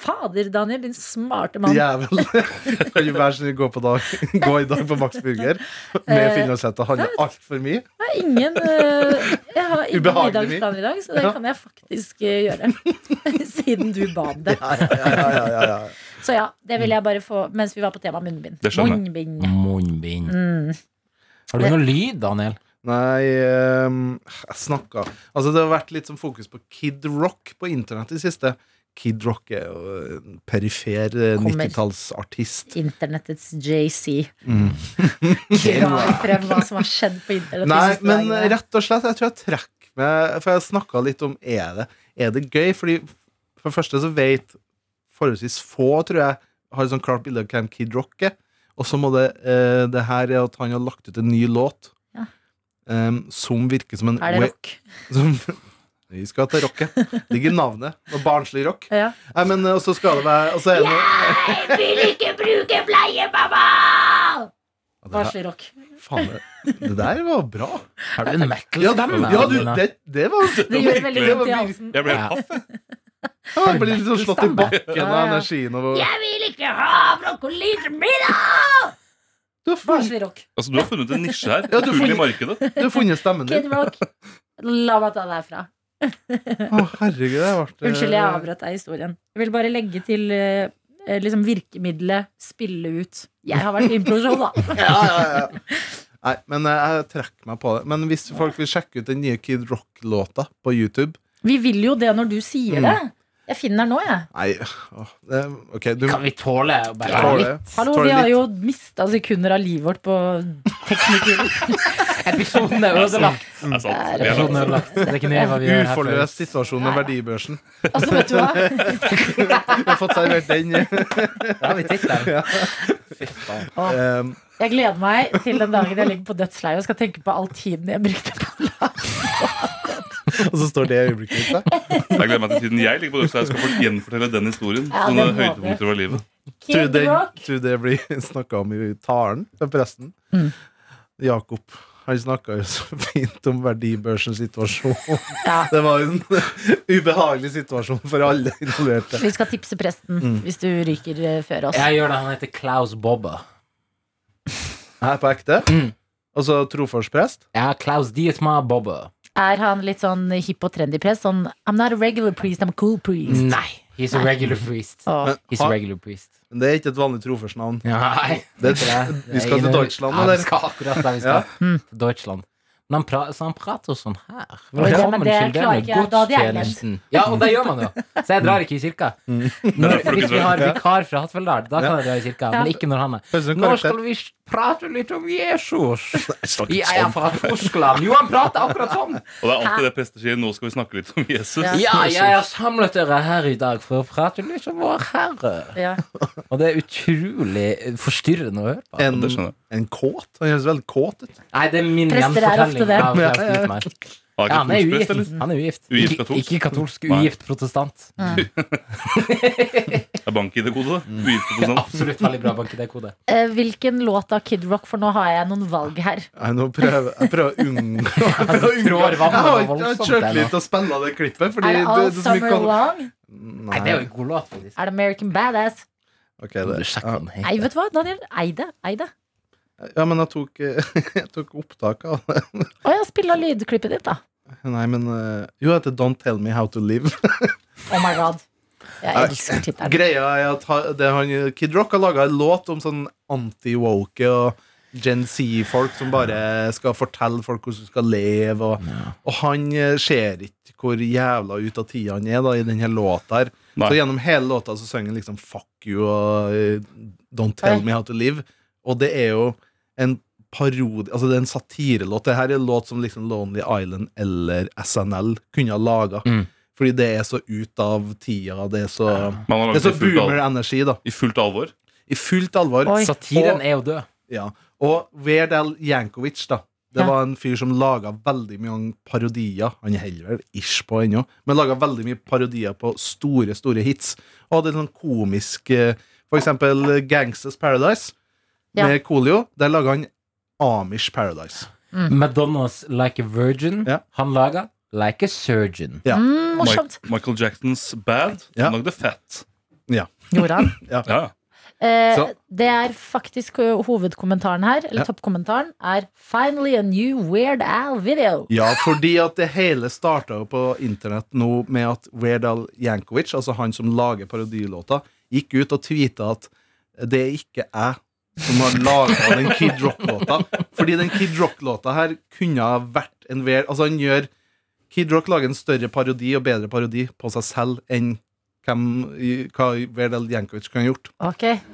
Fader, Daniel, din smarte mann.
Jævel. Kan du være så snill gå, på dag, gå i dag på Max Burger med
Eh,
finlandshette? Handler altfor
Jeg
mye.
har ingen, eh, jeg har ingen
Ubehagelig
middagsplaner i dag, så det
Ja.
kan jeg faktisk eh, gjøre. Siden du ba om det.
Ja, ja, ja, ja, ja, ja.
Så ja, det ville jeg bare få mens vi var på tema munnbind.
Det skjønner jeg.
Munnbind.
Munnbind.
Mm.
Har du noe lyd, Daniel?
Nei, ehm, jeg snakka Altså, det har vært litt sånn fokus på Kid Rock på internett i det siste. Kid Rock er jo en perifer eh,
Kommer.
90-tallsartist.
Internettets JC.
Mm.
Drar frem hva som har skjedd på internett. de
Nei,
siste
men eh,
dagene.
rett og slett, jeg tror jeg trekker meg For jeg snakka litt om er det, er det gøy? Fordi For det første så vet forholdsvis få, tror jeg, har et sånn klart bilde av hvem Kid Rock er. Og så må det eh, Det her er at han har lagt ut en ny låt
Ja.
em, som virker som en
Er det rock?
Som, vi skal til rocket. Ligger i navnet. Og barnslig rock.
Ja.
Nei, men eh, Og så skal det være og så er det,
Jeg vil ikke bruke bleie, mamma!
Ja, det, her-
Varselig rock.
faen, det, det der var bra.
Har du en metal
Ja, du, ja, du det, det var
Det gjør veldig
det var
vondt i
virkelig-
halsen.
Jeg ble
Ja.
helt paff. jeg.
Ja, Jeg blir liksom slått i bakken
Ja,
av
ja.
energien. Og,
Jeg vil ikke ha brokkoli til middag!
du, har funnet,
Varselig rock.
Altså, Du har funnet en nisje her.
Ja, du
Fugl i
får-
markedet.
du har funnet stemmen
Kid
din.
Rock. La meg ta det herfra.
Å, herregud, det ble
Unnskyld, jeg avbrøt deg i historien. Jeg vil bare legge til eh, eh, liksom virkemidlet spille ut. Jeg har vært improvisasjon, da.
Ja, ja, ja. Nei, men eh, jeg trekker meg på det. Men hvis folk vil sjekke ut den nye Kid Rock-låta på YouTube
Vi vil jo det når du sier det. Jeg finner den nå, jeg.
Nei, åh, det, ok, du
Kan vi tåle å bare
Tåle.
litt?
Hallo,
Står
vi
det
har
litt-
jo mista sekunder av livet vårt på teknikker.
Episoden er ødelagt.
Det er sant. Vi er
Episoden er ødelagt. Det er ikke nøye hva vi gjør her. før.
Uforløst situasjon med verdibørsen.
Altså, vet du hva?
Vi har fått servert den.
Da har vi tittelen. Fy faen.
Um,
Jeg gleder meg til den dagen jeg ligger på dødsleiet og skal tenke på all tiden jeg brukte på
og så står det øyeblikket ditt der.
Jeg gleder meg til tiden jeg ligger på dødsleiet og skal fort- gjenfortelle den historien.
Ja,
Sånne
det må du.
høydepunkter fra livet.
Tror
Kid
det,
Rock.
tror det blir snakka om i talen til presten.
Mm.
Jakob. Han snakka jo så fint om verdibørsens situasjon.
Ja.
Det var jo en ubehagelig situasjon for alle involverte.
Vi skal tipse presten hvis du ryker eh, før oss.
Jeg gjør det. Han heter Klaus Bobba.
Her på ekte.
Mm.
Altså trofårsprest.
Ja, Klaus Dietmar Bobba.
Er han litt sånn hipp og trendy prest? Sånn I'm not a regular priest, I'm a cool priest.
Nei. He's a regular priest.
Åh.
He's a regular priest.
Men det er ikke et vanlig trofårsnavn.
Nei.
Det- vi skal til Deutschland,
ja,
eller?
Vi skal akkurat der vi skal. Hmm. Til Deutschland. Men han, pra så han prater sånn her.
men det klarer ikke jeg. Da hadde jeg
godstjenesten. Ja, og det gjør man jo! Så jeg drar ikke i kirka.
Mm.
Når,
derfor du
hvis
ikke
vi
drar.
har vikar fra Hattfjelldal, da kan jeg dra i kirka.
Ja.
Men ikke når han er
Høres ut som
Nå
karakter.
skal vi prate litt om Jesus!
Snakk
Jeg
litt
er
sånn.
fra Tyskland! Jo, han prater akkurat sånn!
Og det er alltid det prester sier. Nå skal vi snakke litt om Jesus.
Ja.
Ja, jeg har samlet dere her i dag for å prate litt om vår Herre.
Ja.
Og det er utrolig forstyrrende å høre på.
En,
det skjønner jeg.
en kåt? Han høres veldig kåt ut.
Nei, det er min
Prester er ofte
gjenfortelling.
det.
av Klaus Dietmar.
Har
Ja, han er
ikke
ugift.
trosprest, eller?
Han er ugift.
Ugift
Ikke-
katolsk?
Ikke katolsk,
Nei.
ugift protestant.
Det er bank-ID-kode,
Mm.
da. Ugift på sånn.
Absolutt veldig bra bank i det kodet.
Eh, Hvilken låt av Kid Rock? For nå har jeg noen valg her.
Nei, nå prøver jeg prøver å unngå Jeg prøver å unngå-
trår
Jeg har
vannet
ikke- jeg har
voldsomt
kjørt
der nå.
litt og spilla det klippet. Fordi
Er det All
det- det som vi
Summer
kaller-
Long?
Nei, det er jo en god låt, faktisk.
Er det American Badass?
Ok, det-
Du sjekker
ja.
den
Nei,
helt.
vet du hva, Daniel? Ei det. Ei det.
Ja, men jeg tok, jeg tok opptak av det.
Å ja, spill av lydklippet ditt, da.
Nei, men eh, Jo, det heter Don't Tell Me How To Live.
Oh my god. Jeg
Nei.
elsker tittelen.
Greia er at ha- det han, Kid Rock har laga en låt om sånn anti-woke og Gen Z-folk som bare skal fortelle folk hvordan du skal leve. Og, og han eh, ser ikke hvor jævla ut av tida han er da, i denne låta. her
Nei.
Så gjennom hele låta så synger han liksom Fuck you og eh, Don't Tell
Oi.
Me How To Live. Og det er jo en parodi Altså det er en satirelåt. Det her er en låt som liksom Lonely Island eller SNL kunne ha laga.
Mm.
Fordi det er så ut av tida. Det er så,
Man har
det er
laget
så
det i fullt alvor.
boomer-energi, da.
I fullt alvor.
I fullt alvor.
Oi.
Satiren er jo død.
Ja. Og Weird Al Jankovic, da. Det
Ja.
var en fyr som laga veldig mye parodier. Han holder vel ish på ennå, men laga veldig mye parodier på store, store hits. Og hadde en sånn komisk eh, For eksempel eh, Gangsters Paradise
Ja.
med Coolio. Der laga han Amish Paradise.
Madonnas Like a Virgin.
Ja.
Han laga Like a Surgeon.
Ja.
Mm, morsomt.
Mike- Michael Jacksons Bad.
Ja.
Han lagde Fat.
Gjorde han.
Ja.
Eh,
Så-
det er faktisk eh, hovedkommentaren her, eller
Ja.
toppkommentaren, er 'Finally a new Weird Al video'.
Ja, fordi at det hele starta jo på internett nå med at Weird Al Jankovic, altså han som lager parodilåta, gikk ut og tweeta at det er ikke jeg som har laga den Kid Rock-låta. Fordi den Kid Rock-låta her kunne ha vært en Weird Altså, han gjør Kid Rock lager en større parodi og bedre parodi på seg selv enn hvem, hva Weird Al Jankovic kan ha gjort.
Ok. Så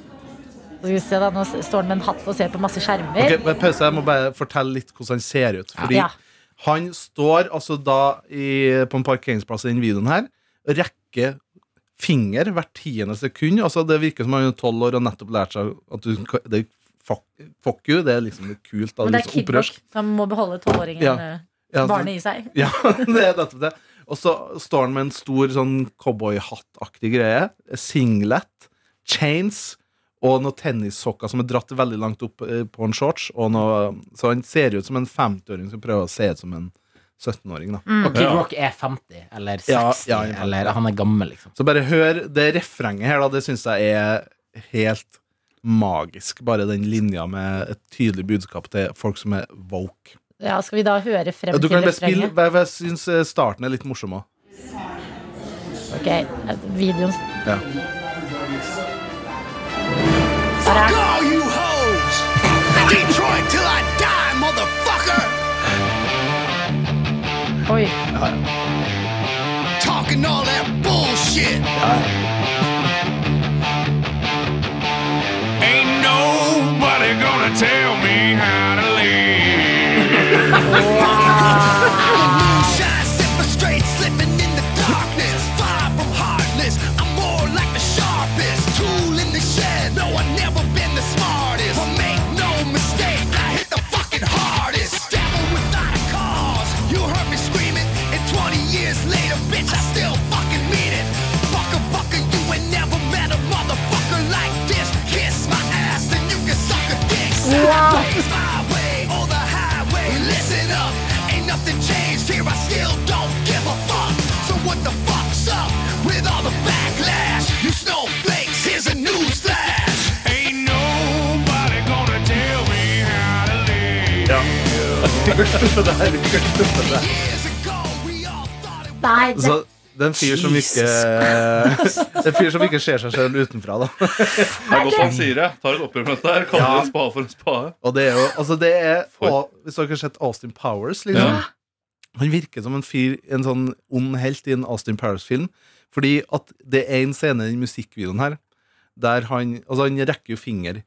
skal vi se da, Nå s- står han med en hatt og ser på masse skjermer.
Ok, bare pause, Jeg må bare fortelle litt hvordan han ser ut. Fordi
Ja.
han står altså da i, på en parkeringsplass i den videoen her og rekker finger hvert tiende sekund. Altså Det virker som han er tolv år og nettopp lært seg at du, kan- det, er fuck, fuck you. Det er liksom litt kult. Da,
Men det er
litt
Kid Rock.
opprørsk.
Han må beholde tolvåringen
Ja.
eh,
Ja, altså, så-
barnet i seg.
ja, det er nettopp det. Og så står han med en stor sånn cowboyhattaktig greie. Singlet, chains og noen tennissokker som er dratt veldig langt opp eh, på en shorts. Og noe, så han ser ut som en 50-åring som prøver å se ut som en 17-åring. da
Mm.
Og Kid
Ja.
Rock er 50, eller 60,
Ja, ja, ja.
eller han er gammel, liksom.
Så bare hør det refrenget her, da. Det syns jeg er helt magisk. Bare den linja med et tydelig budskap til folk som er woke.
Ja, skal vi da høre frem
Du
til
kan bare spille,
refrenget?
jeg syns eh, starten er litt morsom òg.
Ok, eh, videoen
Ja.
Her er den.
All you hoes! Detroit till I die, motherfucker!
Oi.
Talking all that bullshit! shit. Ain't nobody gonna tell me how to live. Moonshine, sipping straight, slipping in the darkness. Far from heartless, I'm more like the sharpest tool in the shed. No, I've never been the smartest. But make no mistake, I hit the fucking hardest. Devil without a cause, you heard me screaming. And 20 years later, bitch, I still fucking mean it. Fucker, fucker, you ain't never met a motherfucker like this. Kiss my ass, and you can suck a dick. Sideways, my way, or the highway. Listen up, ain't nothing changed here. I still don't give a fuck. So what the fuck's up with all the backlash? You snowflakes, here's a news flash. Ain't nobody gonna tell me how to live. Years ago, we all thought it was.
Nei, det,
Så det er en fyr som ikke Det er en fyr som ikke ser seg selv utenfra, da.
Det er godt han sier det. Tar et oppgjør med dette her. Kaller en spade for en spade.
Og det er jo Altså, det er
For-
Å, Hvis dere har sett Austin Powers, liksom.
Ja.
Han virker som en fyr En sånn ond helt i en Austin Powers-film. Fordi at det er en scene i den musikkvideoen her der han Altså, han rekker jo finger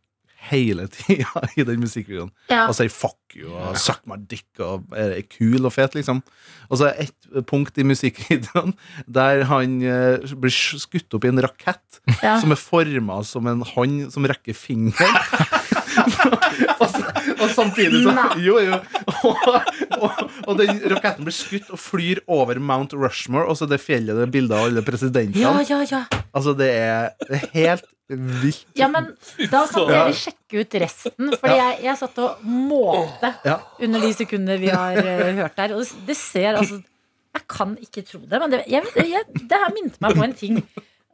hele tida i den musikkvideoen.
Ja.
Og sier 'fuck you' og 'suck my dick' og er kul og fet, liksom. Og så er det ett punkt i musikkvideoen der han eh, blir skutt opp i en rakett
Ja.
som er forma som en hånd som rekker fingeren. og, s- og samtidig så Jo, jo. Og, og, og den raketten blir skutt og flyr over Mount Rushmore, og så det fjellet det er bilder av alle presidentene.
Ja, ja, ja.
Altså, det er, det er helt vilt.
ja, men da kan dere sjekke ut resten. Fordi jeg, jeg satt og målte
Ja.
under de sekundene vi har eh, hørt der. Og det, det ser altså Jeg kan ikke tro det, men det, jeg, jeg, det her minte meg på en ting.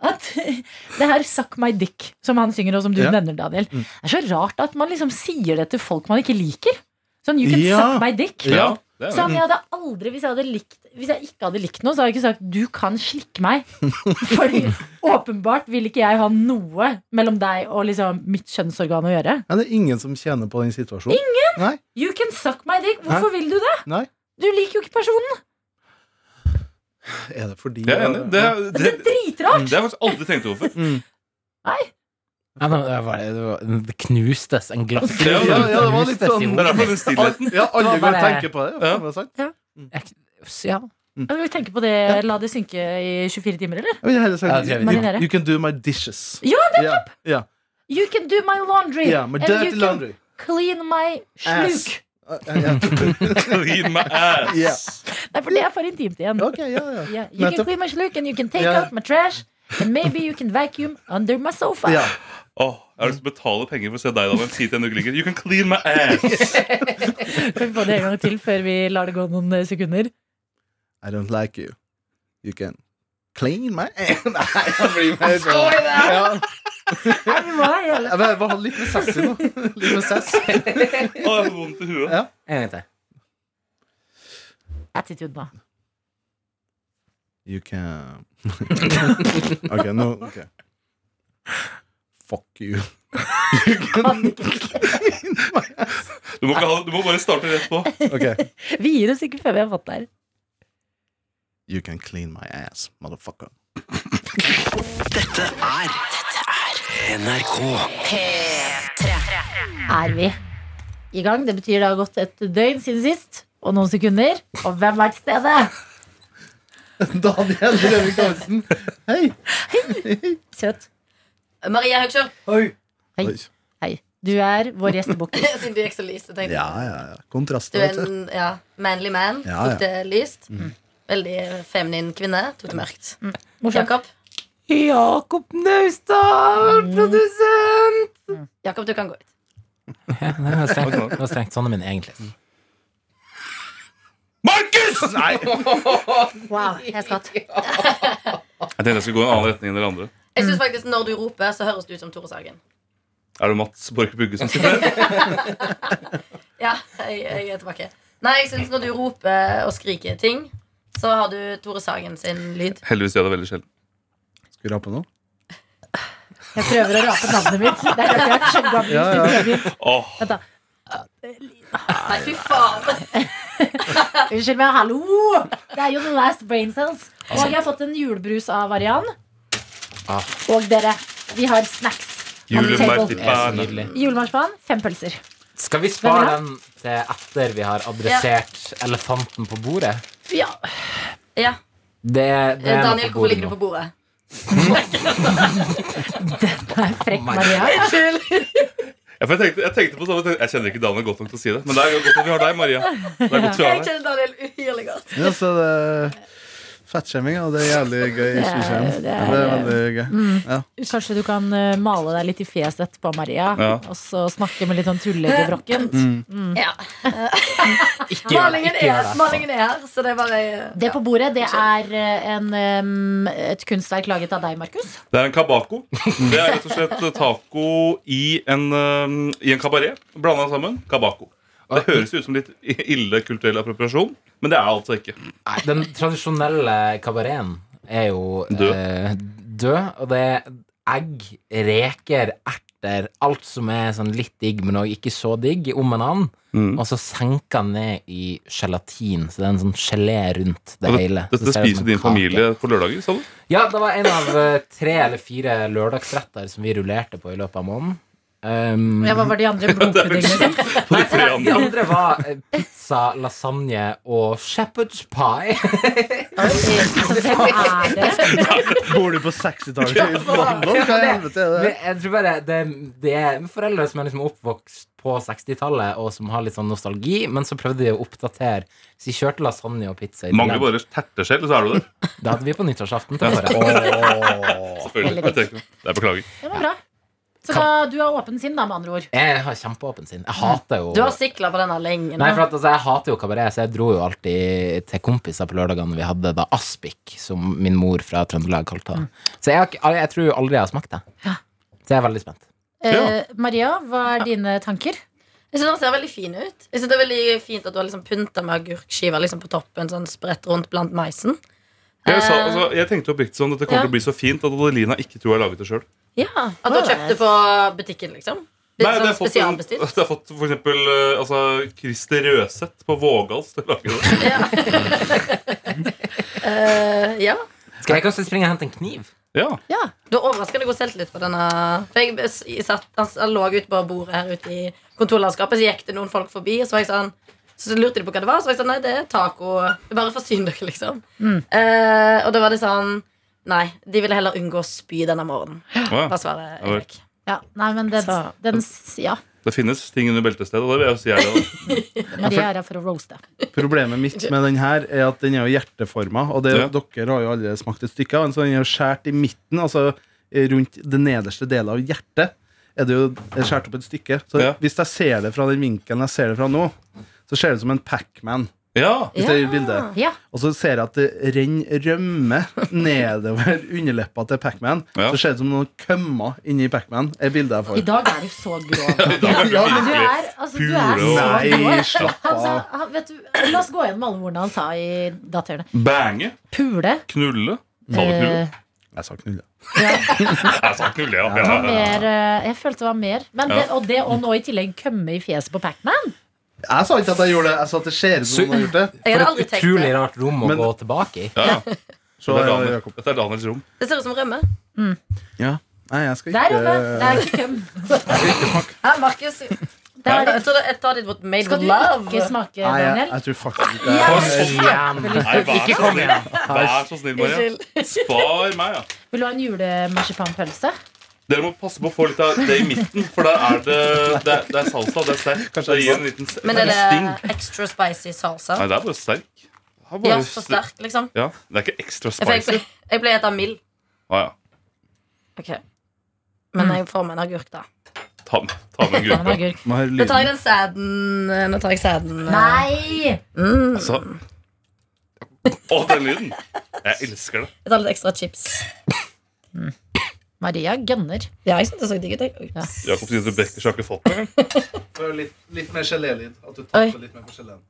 At det her 'Suck my dick', som han synger, og som du
Ja.
nevner, Daniel. Det er så rart at man liksom sier det til folk man ikke liker. Sånn 'You can
Ja.
suck my dick'.
Ja, det er det.
Sånn, jeg hadde aldri, hvis, jeg hadde likt, hvis jeg ikke hadde likt noe, så hadde jeg ikke sagt 'du kan slikke meg'. Fordi åpenbart vil ikke jeg ha noe mellom deg og liksom mitt kjønnsorgan å gjøre.
Men det er ingen som tjener på den situasjonen.
You can suck my dick. Hvorfor vil du det?
Nei.
Du liker jo ikke personen.
Er det fordi
Jeg er enig. Det, er-
Det
det,
er dritrart.
det har jeg faktisk aldri tenkt over.
Ja, men det, var, det, var, det knustes en glass
Ja, ja,
ja, det var
knustes
litt
i
sånn-
Det er
hodet.
derfor den stillheten.
Ja, alle
Det var
går og
bare-
tenker på det.
Ja.
faen, det er sant.
Ja.
Mm.
Jeg vil tenke på det, La det synke i 24 timer, eller?
Jeg vil heller si
Ja, det tror jeg vi
er you,
gjør.
you can do my dishes.
Ja,
det er ja.
You can do my laundry.
ja, my
and you
dirty
can
laundry.
clean my
Ass.
sluk.
Ja, ja.
Clean my ass.
Ja.
Nei, for det er for intimt igjen.
Ok, ja, ja.
Yeah, you can
Nettopp.
clean my sluk, and you can take
Ja.
out my trash. And maybe you can vacuum under my sofa.
ja.
Åh, jeg har lyst til å betale penger for å se deg, Daniel. Si til en du ikke liker. You can clean my ass.
Kan vi få det en gang til før vi lar det gå noen eh, sekunder?
I don't like you. You can clean my Nei, jeg blir med. Står det? Ja.
Nei, vi må ha hele
Jeg vil bare ha litt med sass i nå. Litt med sass.
Åh, jeg får vondt i huet.
Ja.
En gang til.
attitude nå.
You can Ok, nå ok. Fuck you.
Du må, ikke ha, du må bare starte rett på.
Ok.
Vi gir oss ikke før vi har fått der.
You can clean my ass, motherfucker.
Er vi i gang? Det betyr det har gått et døgn siden sist, og noen sekunder. Og hvem er til stede?
Daniel Røvik Hansen. Hei.
Søt.
Maria Høgskjør,
Hei.
Oi.
Hei. Du er vår gjestebukk.
siden du gikk så lyst. Jeg tenkte,
Ja, ja, ja.
Du
Kontraster,
er
vet du.
en ja, manly man.
Ja, Mm. ja.
Tok det lyst. Veldig feminin kvinne. Tok det mørkt.
Mm. Morsomt.
Jakob,
Jakob Naustdal, produsent!
Jakob, du kan gå ut.
Ja, det var strengt, det var strengt sånn min egentlig.
Markus! Nei!
Wow, Ah, jeg er skatt.
Jeg tenkte jeg skulle gå i en annen retning enn dere andre.
Jeg synes faktisk Når du roper, så høres du ut som Tore Sagen.
Er det Mats Borch Bugge som sitter der?
Ja, jeg, jeg er tilbake. Nei, jeg synes Når du roper og skriker ting, så har du Tore Sagen sin lyd.
Heldigvis gjør jeg det veldig sjelden.
Skal vi rape nå?
Jeg prøver å rape navnet mitt. Det er rart jeg er kjempegammel.
Ja, ja.
Åh,
Nei, fy faen!
Unnskyld meg, hallo! Det er jo The Last Brain Cells. Og jeg har fått en julebrus av Arian. Og dere, vi har snacks. on the table.
Det er så
Julemarsipan.
nydelig.
Julemarsipan, fem pølser.
Skal vi
Hvem
spare
er
den til etter vi har adressert elefanten på bordet?
Ja. ja.
Det,
Eh,
det er noe
Daniel,
på
hvorfor
bordet
ligger du
nå.
på bordet?
Det er frekk,
Oh my
Maria.
Ja, for jeg, tenkte, jeg tenkte på samme ting. Jeg kjenner ikke Daniel godt nok til å si det, men det er jo godt at vi har deg, Maria. Det er godt vi har
Jeg
deg.
kjenner Daniel uhyrlig godt.
Ja, så det er fettskjemming, og det er jævlig gøy. i spiseskjerm.
det
Det
er-
er veldig gøy. Ja.
Kanskje du kan eh, male deg litt i fjeset etterpå, Maria.
Ja.
Og så snakke med litt sånn tullete brokken.
Ja.
Ikke gjør det,
Malingen
ikke
er,
gjør det.
malingen er her, så det er bare
Det på bordet, det er eh, en, em, et kunstverk laget av deg, Markus.
Det er en kabako. Det er rett og slett taco i en, um, i en kabaret. Blanda sammen. Kabako. Det høres ut som litt ille kulturell appropriasjon, men det er altså ikke.
Nei, Den tradisjonelle kabareten er jo
Død.
eh, død, og det er egg, reker, erter, alt som er sånn litt digg, men òg ikke så digg, om en annen.
Mm.
Og så senker han ned i gelatin, så det er en sånn gelé rundt det
Og det-
hele. Så
Altså, Dette
ser det ut
spiser
som en
din
kake.
familie på lørdager? sa du?
Ja, det var en av eh, tre eller fire lørdagsretter som vi rullerte på i løpet av måneden. Um,
Ja, hva var de andre blodpuddingene? sin?
De tre
de
andre.
andre var eh, pizza, lasagne og shepherd's pie.
Altså, hvem er det?
Bor du på 60-tallet i London? Hva i helvete er det?
Men jeg tror bare det, det er foreldre som er liksom oppvokst på 60-tallet, og som har litt sånn nostalgi, men så prøvde de å oppdatere. Så de kjørte lasagne og pizza. i
Mangler
tillegg.
bare terteskjell, så er du der.
Det hadde vi på nyttårsaften. til året.
Selvfølgelig. Jeg tenker, det er Beklager.
Det var bra. Så da, du har åpen sinn, da, med andre ord.
Jeg har kjempeåpen sinn. Jeg hater jo
Du har sikla på denne lenge.
Nei, for at, altså, Jeg hater jo kabaret, så jeg dro jo alltid til kompiser på lørdagene vi hadde da Aspik, som min mor fra Trøndelag kalte
Mm.
det. Så jeg, har ikke- jeg tror aldri jeg har smakt det. Så jeg er veldig spent.
Eh, Maria, hva er dine tanker?
Jeg synes Den ser veldig fin ut. Jeg synes Det er veldig fint at du har liksom pynta med agurkskiver liksom på toppen, sånn spredt rundt blant maisen.
Jeg, sa, altså, jeg tenkte oppriktig sånn at det
Eh,
kommer
Ja.
til å bli så fint at Adelina ikke tror jeg har laget det sjøl.
Ja, At du har kjøpt det på butikken, liksom? Litt
Nei, det
sånn
har fått, en-
spesialbestilt?
det har fått for eksempel eh, altså, Christer Røseth på Vågals til å lage det.
Eh, ja.
Skal jeg kanskje springe og hente en kniv?
Ja.
Du har overraskende god selvtillit på denne. For jeg, s- jeg satt, han s- han lå ute på bordet her ute i kontorlandskapet, så gikk det noen folk forbi, og så var jeg sånn så lurte de på hva det var, så var jeg sånn, nei, det er taco. Bare forsyn dere, liksom.
Mm.
Eh, og da var det sånn Nei, de ville heller unngå å spy denne morgenen.
Å,
Hva
ja.
svarer
Ja vel.
Erik?
Ja, altså- nei, men den,
Så-
den s- Ja,
Det finnes ting under beltestedet, og det vil jeg jo si er det. da.
Maria er her for å roaste.
Problemet mitt med den her er at den er jo hjerteforma. Og det,
Ja.
dere har jo alle smakt et stykke av den, så den er jo skåret i midten. Altså eh, rundt den nederste delen av hjertet er det jo skåret opp et stykke. Så
Ja.
hvis jeg ser det fra den vinkelen jeg ser det fra nå, så ser det ut som en Pac-Man
Ja.
Hvis det er i bildet.
Ja,
Og så ser jeg at det renner rømme nedover underleppa til Pacman.
Ja.
Så ser det ut som noen kømmer inni Pacman. Er bildet
I
jeg får.
dag er du så grå.
dag er du
Ja, men du
virkelig
er, altså, du er så
pul, og-
grå.
Nei, slapp
Han
av.
sa, han, vet du, la oss gå gjennom alle ordene han sa i datahjørnet.
Bange.
Pule.
Knulle. Sa du knulle?
Eh,
Jeg sa knulle.
Jeg sa knulle, ja.
det
ja.
var mer, eh, jeg følte det var mer. Men det, og det å nå i tillegg kømme i fjeset på Pacman
Jeg sa ikke at jeg gjorde det. Jeg sa at det ser ut som noen har gjort det.
Jeg
For
hadde
et
aldri tenkt
utrolig
det.
rart rom å
Men-
gå tilbake i.
ja. ja.
Så
Dette er
ja,
Daniel.
Jakob.
Dette er Daniels rom.
Det ser ut som rømme.
Ja. Nei, jeg skal
Der oppe! Det
ikke
er ikke køm.
Ja, Markus, jeg
Det er,
tror det- jeg tar ditt vårt made
skal
with
du
love.
ikke smake,
Nei, jeg,
Daniel?
jeg tror faktisk ikke jeg-
Igjen.
Nei, vær så snill.
igjen.
Vær så snill, Maria.
Unnskyld.
Spar meg, ja.
Vil du ha en julemarsipanpølse?
Dere må passe på å få litt av det i midten, for der er det, det, er- det er salsa. Det er sterkt. Det gir en liten s-
Men er
sting.
det extra spicy
Nei,
salsa?
det er bare sterk. Det er bare
Ja, så sterk, liksom.
Ja, det er ikke ekstra
Jeg ble,
spicy.
jeg ble et av mild.
Ah, ja.
Ok. Men
Mm.
jeg får meg en agurk, da.
ta, ta med en
Ta en
gruppe.
agurk.
må høre
Nå tar jeg
lyden.
den sæden. eh, Nå tar jeg sæden. eh.
Nei!
Mm.
Altså. Å, den lyden! Jeg elsker det.
Jeg tar litt ekstra chips.
Maria gønner.
Ja, jeg synes det så digg ut. jeg. Oi.
Ja.
Jakob Sine Bekkers har ikke fått det engang.
Hør Litt, litt mer gelélyd. At du
Oi.
tapper litt mer på geleen.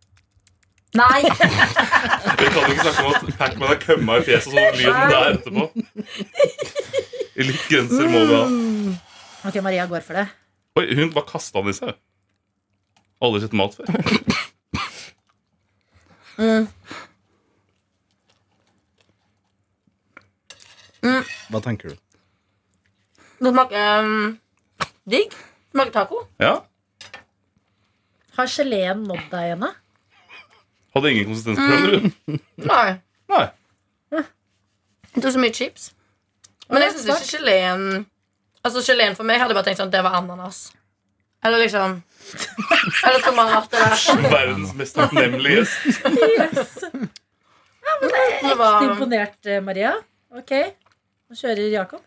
Nei!
Vi kan ikke snakke om at Pac-Man har kømma i fjeset, sånn lyden der etterpå. Litt grenser må vi ha.
Ok, Maria går for det.
Oi, hun bare kasta den i seg. Aldri sett mat før.
Hva tenker du?
Det smaker um, digg. Det Smaker taco.
Ja.
Har geleen nådd deg ennå?
Hadde ingen konsistensprøver. du.
Nei.
Nei.
Jeg tok så mye chips. Men jeg syns ikke geleen Altså Geleen for meg hadde jeg bare tenkt sånn det var ananas. Eller liksom Eller tomat. Eller,
Verdens mest takknemlige gjest.
Yes.
det var,
Imponert, eh, Maria. Ok, nå kjører Jakob.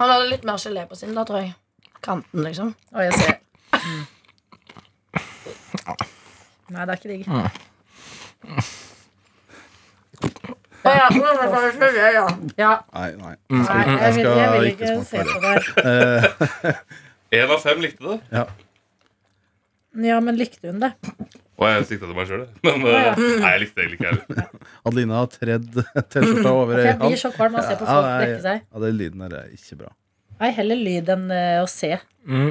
han hadde litt mer gelé på sin, da, tror jeg. Kanten, liksom.
Å, jeg ser. Mm. Nei, det er ikke digg.
Mm,
Å ja, det var gelé, ja.
Ja,
Nei, nei.
nei, jeg,
Jeg
vil,
skal
jeg vil
ikke
ikke
smake
se
på
på det.
Én av fem likte det.
Ja, men likte hun det?
Og jeg sikta til meg sjøl, men eh, nei, jeg likte det egentlig ikke heller.
Adelina har tredd T-skjorta
For
over
Altså, jeg
øyehånd.
blir så kvalm av å se på folk
nei,
brekke seg.
Ja, den lyden her er ikke bra.
Nei, heller lyd enn eh, å se.
Mm.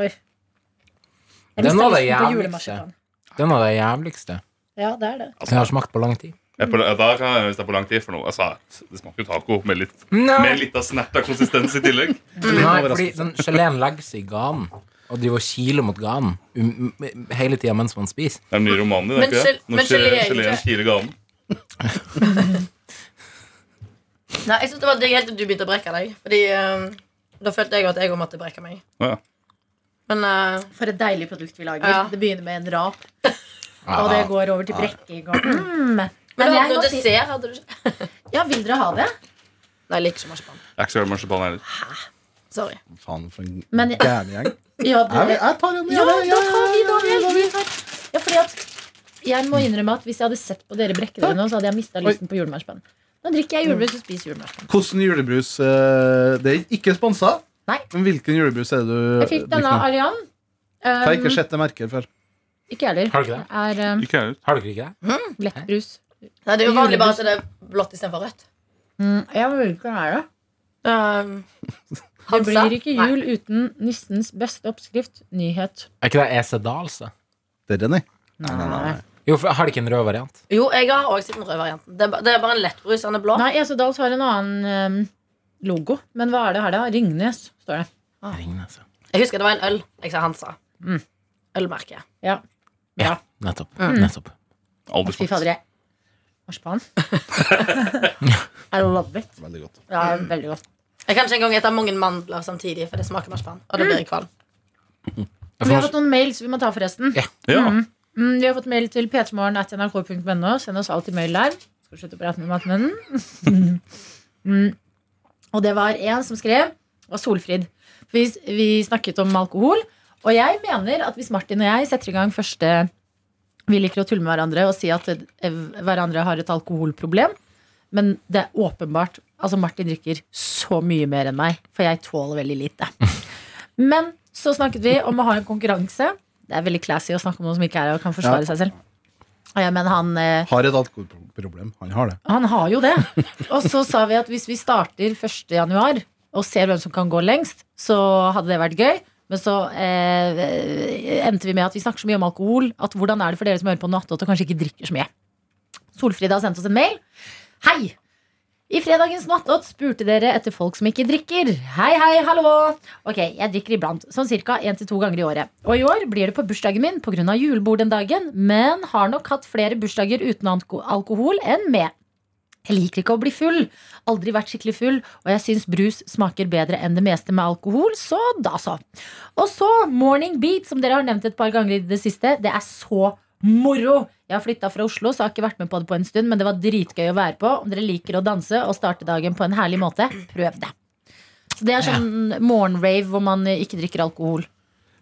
Oi. Jeg mista
Den var det
lysten på
jævligste.
julemarsipan.
Det er noe av det jævligste
Ja, det er det.
jeg har smakt på lang tid.
Jeg, på, da kan jeg, hvis det er på lang tid, for nå, altså, det smaker jo taco med litt Med
Nei,
litt av snert av konsistens i tillegg.
fordi den geleen legger seg i ganen og driver og kiler mot ganen um, um, hele tida mens man spiser.
Det er en ny roman i
Men
det.
gel- men
Når
gelé er
geleen
ikke-
kiler ganen.
Nei, jeg synes det var digg helt til du begynte å brekke deg. Fordi eh, da følte jeg at jeg òg måtte brekke meg.
Å, ja.
Men eh,
For et deilig produkt vi lager.
Ja.
Det begynner med en rap, og det går over til brekking. Og, mm.
Men
Men
du
jeg
hadde
må
noe
si-
dessert, hadde du ikke?
Ja, vil dere ha det?
Nei, jeg liker ikke marsipan.
Jeg er ikke så glad i marsipan heller.
Sorry.
Faen, for en
Men-
gæren gjeng.
Ja,
Jeg,
dere.
jeg tar den.
ja
jeg,
da tar vi
jeg,
Daniel. Vi tar. Ja, fordi at jeg må innrømme at hvis jeg hadde sett på dere brekke dere nå, så hadde jeg mista lysten på julemarsipan. Nå drikker jeg julebrus og spiser julemarsipan.
Hvordan julebrus eh, Det er ikke sponsa.
Nei.
Men hvilken julebrus er det du
Jeg fikk denne um, av Arian.
Jeg har ikke
Um,
sett det merket før.
ikke jeg heller.
Har du ikke det?
Det er um,
Ikke jeg heller.
Har dere ikke det?
lettbrus.
Nei, Det er jo vanlig bare
Julebrus.
at det er blått istedenfor rødt.
Mm, jeg vil ikke være det.
Um,
Det blir ikke jul uten nissens beste oppskrift, nyhet.
Er ikke det EC Dahls, da?
Det er den, jeg.
Nei,
Jo, for har de ikke en rød variant?
Jo, jeg har òg sett den røde varianten. Det er, ba- det er bare en lettbrus. Den er blå.
Nei Esedals har en annen um, logo. Men hva er det her, da? Ringnes, står det.
Ringene, altså.
Jeg husker det var en øl jeg sa Hansa.
Mm.
Ølmerke.
Ja.
Ja.
Ja.
Nettopp.
Mm.
Nettopp.
Aldri
Fy
smakt.
fader, jeg Marsipan. I love it.
Veldig godt.
Ja, veldig godt.
Mm.
Jeg kan ikke engang spise mange mandler samtidig, for det smaker marsipan. Og da blir jeg kvalm.
Jeg
Vi har
får-
fått noen mails vi må ta, forresten.
Ja.
Mm, vi har fått mail til ptmorgen.nrk.no. Send oss alltid mail der. Skal slutte å prate med matmunnen. mm. Og det var en som skrev, og Solfrid. For vi, vi snakket om alkohol. Og jeg mener at hvis Martin og jeg setter i gang første Vi liker å tulle med hverandre og si at eh, hverandre har et alkoholproblem. Men det er åpenbart Altså, Martin drikker så mye mer enn meg, for jeg tåler veldig lite. Men så snakket vi om å ha en konkurranse. Det er veldig classy å snakke om noen som ikke er her og kan forsvare seg selv. Og jeg mener han eh,
Har et alkoholproblem. Han har det.
han har jo det. Og så sa vi at hvis vi starter 1. januar og ser hvem som kan gå lengst, så hadde det vært gøy. Men så eh, endte vi med at vi snakker så mye om alkohol at hvordan er det for dere som hører på Nattåt og kanskje ikke drikker så mye? Solfrid har sendt oss en mail. Hei! I fredagens Nattåt spurte dere etter folk som ikke drikker. Hei, hei, hallo! Ok, jeg drikker iblant, sånn ca. én til to ganger i året. Og i år blir det på bursdagen min pga. julebord den dagen, men har nok hatt flere bursdager uten alko- alkohol enn med. Jeg liker ikke å bli full. Aldri vært skikkelig full, og jeg syns brus smaker bedre enn det meste med alkohol, så da så. Og så Morning Beat, som dere har nevnt et par ganger i det siste. Det er så moro! Jeg har flytta fra Oslo, så har ikke vært med på det på en stund, men det var dritgøy å være på. Om dere liker å danse og starte dagen på en herlig måte, prøv det. Så det er sånn morgenrave hvor man eh, ikke drikker alkohol.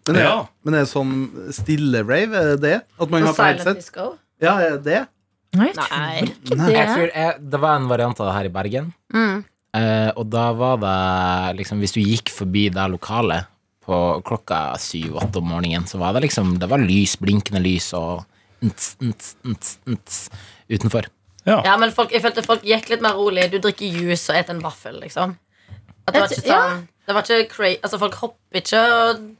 Men det,
Ja.
men det er sånn stille rave, er det det? At man
Og
har på
silent
headset?
disco.
Ja, er det det?
Nei,
Nei.
det
Jeg tror jeg, det var en variant av det her i Bergen.
Mm.
Eh, og da var det liksom Hvis du gikk forbi det lokalet på klokka syv-åtte om morgenen, så var det liksom Det var lys, blinkende lys og nts, nts, nts, nts, utenfor.
Ja, men folk, jeg følte folk gikk litt mer rolig. Du drikker juice og et en vaffel, liksom. At det var
Jeg
ikke
tror- ja.
sånn det var ikke cra Altså, folk hopper ikke og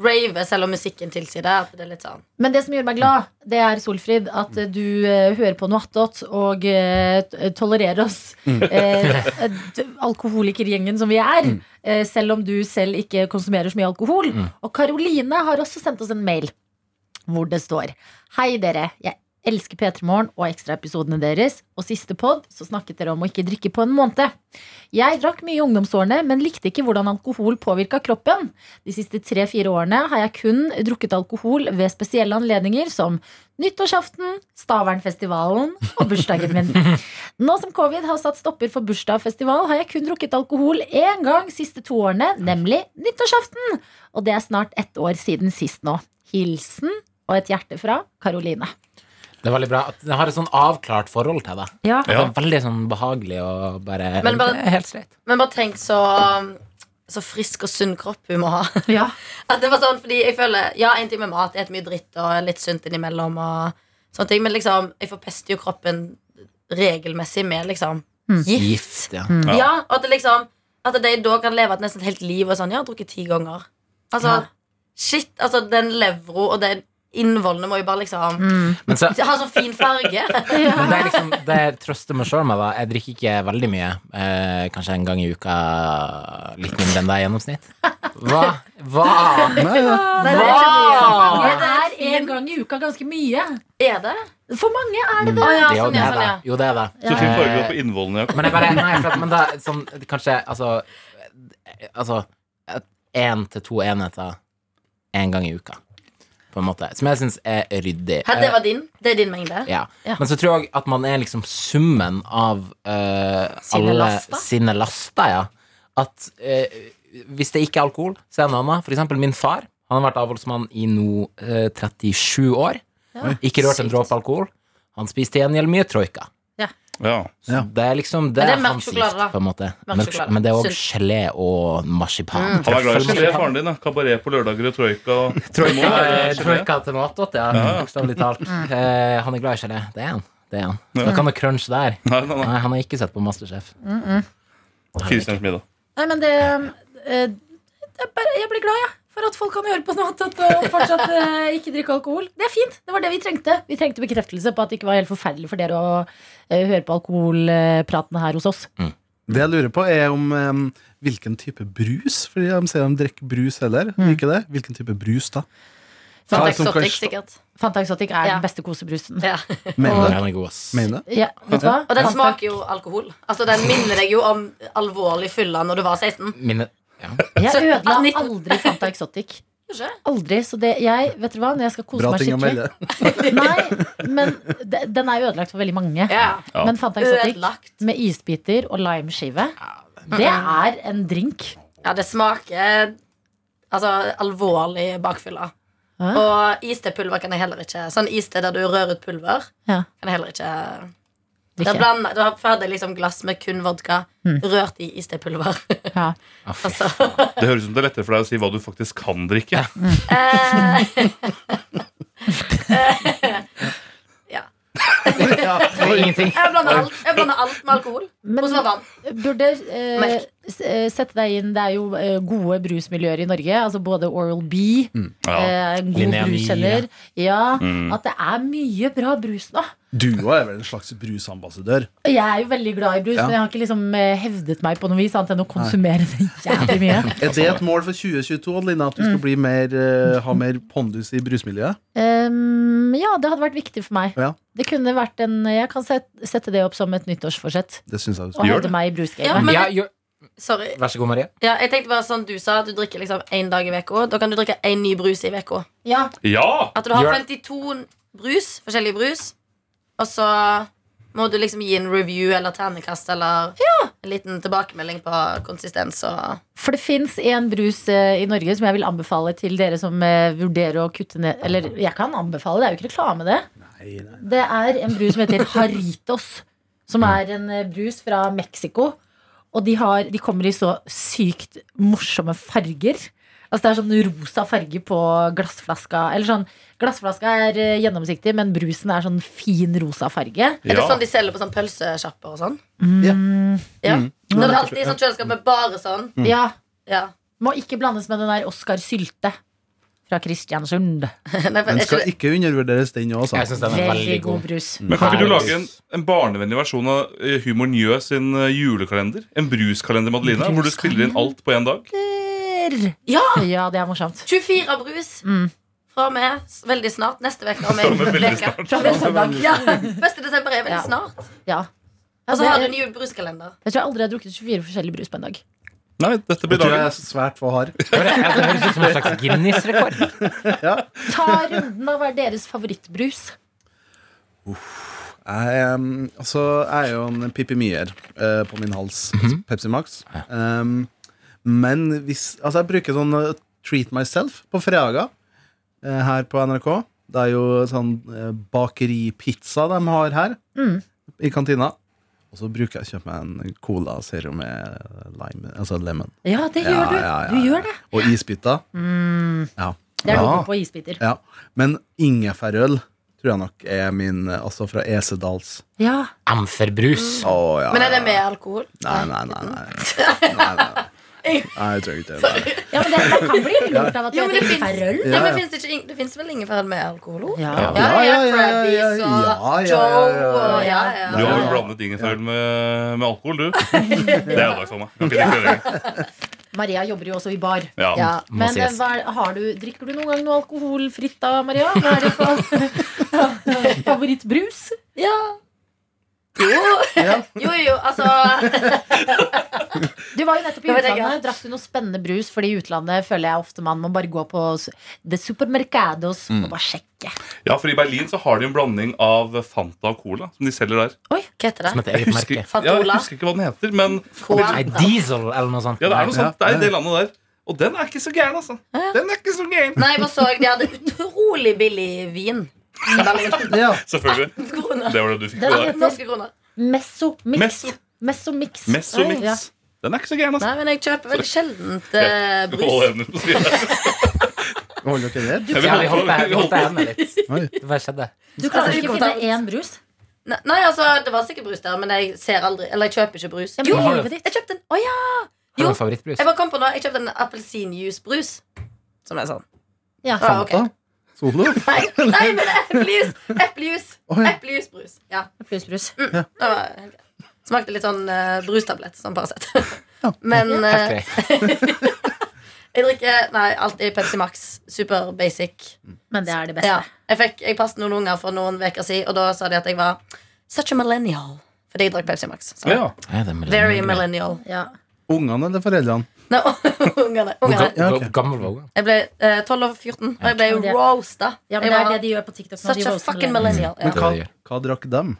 rave, selv om musikken tilsier det. At det er litt sånn
Men det som gjør meg glad, det er Solfrid. At eh, du eh, hører på noe attåt og eh, t- tolererer oss. Eh, eh, d- alkoholikergjengen som vi er. Eh, selv om du selv ikke konsumerer så mye alkohol. Og Karoline har også sendt oss en mail hvor det står Hei dere, jeg elsker P3 Morgen og ekstraepisodene deres. Og siste pod så snakket dere om å ikke drikke på en måned. Jeg drakk mye i ungdomsårene, men likte ikke hvordan alkohol påvirka kroppen. De siste tre-fire årene har jeg kun drukket alkohol ved spesielle anledninger som nyttårsaften, Stavernfestivalen og bursdagen min. Nå som covid har satt stopper for bursdag og festival, har jeg kun drukket alkohol én gang siste to årene, nemlig nyttårsaften. Og det er snart ett år siden sist nå. Hilsen og et hjerte fra Karoline.
Det er veldig bra. at Den har et sånn avklart forhold til deg.
Ja.
Det er veldig sånn behagelig å bare
Men bare-
Det er helt streit.
Men bare tenk så um, så frisk og sunn kropp hun må ha.
Ja.
At det var sånn, fordi jeg føler Ja, en ting med mat er et mye dritt og litt sunt innimellom, og sånne ting, men liksom, jeg forpester jo kroppen regelmessig med liksom gift.
Gift, ja.
Ja. og at det liksom At de da kan leve et nesten helt liv og sånn. Ja, jeg har drukket ti ganger. Altså,
Ja.
shit. Altså, den levro og den innvollene må jo bare liksom
Men så,
ha sånn fin farge.
Men det er liksom Det jeg trøster meg sjøl med, da. Jeg drikker ikke veldig mye. Eh, kanskje en gang i uka litt mindre enn deg i gjennomsnitt. Hva? Hva?
Nei, ja.
Det er,
Hva?
Det er en gang i uka ganske mye.
er det?
For mange er det det.
Å ja,
Jo,
sånn,
det
ja,
er
sånn,
det.
ja.
Jo, det er det.
Så fin farge da
Eh,
på innvollene. Jakob.
Men jeg bare Nei, for at, men da sånn, Kanskje Altså Altså Én til to enheter én gang i uka, på en måte. Som jeg syns er ryddig.
Hæ, det var din? Det er din mengde?
Ja.
Ja.
Men så tror jeg at man er liksom summen av eh,
Sine
alle
laster.
sine laster. Ja. At eh, hvis det ikke er alkohol, så er det noe annet. For eksempel min far. Han har vært avholdsmann i nå eh, 37 år. Ikke rørt en dråpe alkohol. Han spiste til gjengjeld mye troika.
Ja.
Så Det er liksom
Men
det,
det er
er
mørk
hans
sjokolade, da.
gift, på en måte.
Mørk
Mørk,
sjokolade.
men det er òg
Sunt.
gelé og marsipan.
Han er glad i gelé,
Trøffelmarsipan.
faren din. da. Kabaret på lørdager og troika. og- Det må
Troika,
være gelé.
eh, troika til matot, ja. Bokstavelig talt. Eh, han er glad i gelé. Det er han. Det er han. Da kan du crunche der.
Nei, nei, nei.
Nei, han har ikke sett på Masterchef.
Fire stjerners middag.
Nei, men det, eh, det er bare, Jeg blir glad, jeg. For at folk kan høre på noe annet og fortsatt eh, ikke drikke alkohol. Det er fint. Det var det vi trengte. Vi trengte bekreftelse på at det ikke var helt forferdelig for dere å eh, høre på alkoholpraten her hos oss.
Det jeg lurer på, er om em, hvilken type brus. Fordi de sier de drikker brus heller.
Mm.
Ikke det? Hvilken type brus, da?
Sånn
Hva er det som
eksotikk,
kanskje-
sikkert.
Fanta Exotic er
Ja.
den beste kosebrusen.
Ja.
Mener
Den er god, ass.
du det?
Ja, vet du hva?
Og den
Fanta-
smaker jo alkohol. Altså Den minner deg jo om alvorlig fylla når du var 16.
Mine, ja.
Jeg
Sø-
ødela
Ah, nitten.
aldri Fanta Exotic.
Ikke?
Aldri. Så det jeg Vet du hva, når jeg skal kose
Bra
meg
ting å
skikkelig
melde.
Nei, men de- den er jo ødelagt for veldig mange.
Ja.
Ja.
Men Fanta Exotic
Ødelagt.
med isbiter og limeskive, det er en drink.
Ja, det smaker Altså alvorlig bakfylla.
Ja.
Og istepulver kan jeg heller ikke. Sånn iste der du rører ut pulver,
Ja.
kan jeg heller ikke. Da,
Drikke.
blander, da får jeg liksom glass med kun vodka, rørt i istepulver.
Mm. Ja.
Å, fy.
altså,
Det høres ut som det er lettere for deg å si hva du faktisk kan drikke.
eh,
Ja, oi.
Ingenting.
jeg, blander alt, jeg blander alt med alkohol.
Men-
Hos vann.
Burde eh,
Melk.
s- eh, sette deg inn Det er jo eh, gode brusmiljøer i Norge. Altså både Oral B,
Ja.
eh, en god
Linnea Mie.
bruskjenner. Ja, At det er mye bra brus nå.
Duo er vel en slags brusambassadør.
Og jeg er jo veldig glad i brus,
Ja.
men jeg har ikke liksom eh, hevdet meg på noe vis annet enn å konsumere det jævlig mye.
Er det et mål for 2022, Lina, at du
Mm.
skal bli mer, eh, ha mer pondus i brusmiljøet?
Um, ja, det hadde vært viktig for meg.
Ja.
Det kunne vært en Jeg kan set, sette det opp som et nyttårsforsett.
Det syns jeg. du
Å
skal.
Gjør
hevde
det.
meg i
Ja,
brusgamet.
men-
Ja, jo,
Sorry.
vær så god, Marie.
Ja, jeg tenkte bare sånn du sa, at du drikker liksom én dag i veka Da kan du drikke én ny brus i veka
Ja.
Ja!
At du har
Gjør-
52 brus, forskjellige brus, og så må du liksom gi en review eller ternekast eller en liten tilbakemelding på konsistens og
For det fins en brus eh, i Norge som jeg vil anbefale til dere som eh, vurderer å kutte ned Eller jeg kan anbefale, det er jo ikke reklame, det. Det er en brus som heter Haritos. Som er en eh, brus fra Mexico. Og de, har, de kommer i så sykt morsomme farger. Altså Det er sånn rosa farge på glassflaska. Eller sånn, Glassflaska er eh, gjennomsiktig, men brusen er sånn fin rosa farge.
Er det
Ja.
sånn de selger på sånn pølsesjapper og sånn?
Ja. Mm.
Ja. Nå er det alltid
Mm.
sånn kjøleskap med bare sånn.
Ja,
Ja.
Må ikke blandes med den der Oscar Sylte. fra Kristiansund.
Nei, for
Den
er ikke
skal
det-
ikke undervurderes, den òg,
Sånn.
Jeg
altså.
syns den er veldig god.
brus.
Men kan ikke du lage en, en barnevennlig versjon av eh, Humor Njø sin eh, julekalender? En bruskalender, Madelina, hvor du spiller inn alt på én dag?
Ja!
Ja, det er morsomt.
24 brus.
Mm.
Fra og med s- veldig snart. Neste uke. Fra og
Fra og med
med
veldig
veka.
snart.
Fra og med søndag. Ja. 1. desember er
Ja.
veldig snart.
Ja.
Og så
det-
har du en julebrusekalender.
Jeg tror jeg aldri har drukket 24 forskjellige brus på en dag.
Nei, dette
Det
blir
tror jeg er
dagen.
svært for hard.
Det høres- det høres ut som en slags Guinness-rekord.
Ta runden av hva er deres favorittbrus.
Jeg, um, altså, jeg er jo en pipimier uh, på min hals.
Mhm.
altså Pepsi Max. Um, men hvis Altså, jeg bruker sånn uh, treat myself på fredager eh, her på NRK. Det er jo sånn eh, bakeripizza de har her
Mm.
i kantina. Og så bruker jeg å kjøpe meg en cola zero med lime, altså lemon.
Ja, det
Ja,
gjør du.
ja, ja,
Du
ja.
gjør det.
Og isbiter.
Mm.
Ja.
Det er
Ja.
noe på isbiter.
ja. Men ingefærøl tror jeg nok er min eh, Altså fra Esedals.
Ja.
Amferbrus.
Å, ja,
Men er det
ja, ja.
med alkohol?
Nei, nei, nei. nei. nei, nei, nei. Nei, jeg tror ikke det. Nei.
ja, men det man kan bli lurt av at
Jo,
det
men det
heter
fins
ingefærøl.
Ja, ja.
Det fins vel ingefærøl med alkohol?
Ja.
Ja, ja, ja.
Ja, ja, ja, ja, ja,
Krabbies og
ja, ja,
Joe
ja, ja.
og ja, ja.
Du
Ja.
har jo blandet ingefær med, med alkohol, du. Det er ødelagt for meg. Kan ikke drikke det lenger.
Maria jobber jo også i bar.
Ja.
Ja,
må
men eh,
sies.
hva, er- har du, drikker du noen gang noe alkoholfritt da, Maria? Hva er det for favorittbrus?
Ja. Jo. jo, jo, altså
Du var jo nettopp i
Det vet jeg
utlandet. Drakk du noe spennende brus? Fordi i utlandet føler jeg ofte man må bare gå på s- The Supermercados
Mm.
og bare sjekke.
ja, for i Berlin så har de en blanding av Fanta og Cola, som de selger der.
Hva heter
Som
det?
et eget
Husker,
merke.
ja, jeg husker ikke hva den heter, men
Nei, diesel eller noe sånt.
ja, det er noe
Ja,
sånt. Det er
ja.
det landet der. Og den er ikke så gæren, altså. Den er ikke så gæren.
Nei, jeg bare så de hadde utrolig billig vin. I Berlin.
Ja.
Selvfølgelig.
Kroner.
Det var det du fikk
Den
på
er
deg.
Norske kroner.
Messo Mix.
Messo.
Messo Mix. Ja.
Messomix. Den er ikke så gæren, altså.
Nei, men jeg kjøper veldig sjeldent eh,
Hold
brus.
hendene på siden.
Holder dere det?
Ja,
Ja, vi holdt
vi holdt
på hendene litt.
Oi.
Hva skjedde?
Du klarer
Altså,
ikke
vi
å
kommer
finne
til-
én brus?
Ne- Nei, altså, det var sikkert brus der, men jeg ser aldri Eller jeg kjøper ikke brus.
Ja, men
Jo,
har du-
livet ditt.
jeg kjøpte en Å ja!
Har du
Jo.
en favorittbrus?
Jeg bare kom på noe. Jeg kjøpte en appelsinjuicebrus. Som er sånn.
Ja.
Ah, ok.
Da? Solo?
Nei, nei, men det er eplejus! Eplejus.
Oi.
Eplejusbrus. Ja.
Plusbrus.
Det var helt greit. Smakte litt sånn eh, brustablett, sånn Paracet.
Ja.
Men
Helt
eh,
grei.
jeg drikker nei, alltid Pepsi Max. Super basic.
Men det er det beste.
Ja. Jeg, fikk, jeg passet noen unger for noen uker siden, og da sa de at jeg var such a millennial. Fordi jeg drakk Pepsi Max. Så.
Ja.
Nei, det er millennial.
Very millennial.
Ja.
Ungene eller foreldrene?
Nei, ungene.
Hvor
ungene.
ga-
Ja, ok.
hvor Gammel var hun.
Jeg ble eh, 12 over 14, og jeg
Ja,
ble
det-
roasta.
ja,
Jeg
men Det er
var
det de gjør på TikTok. nå, de
Such a
roaster
fucking millennial.
millennials.
Men
Ja.
Det
hva,
er det jeg
hva drakk dem?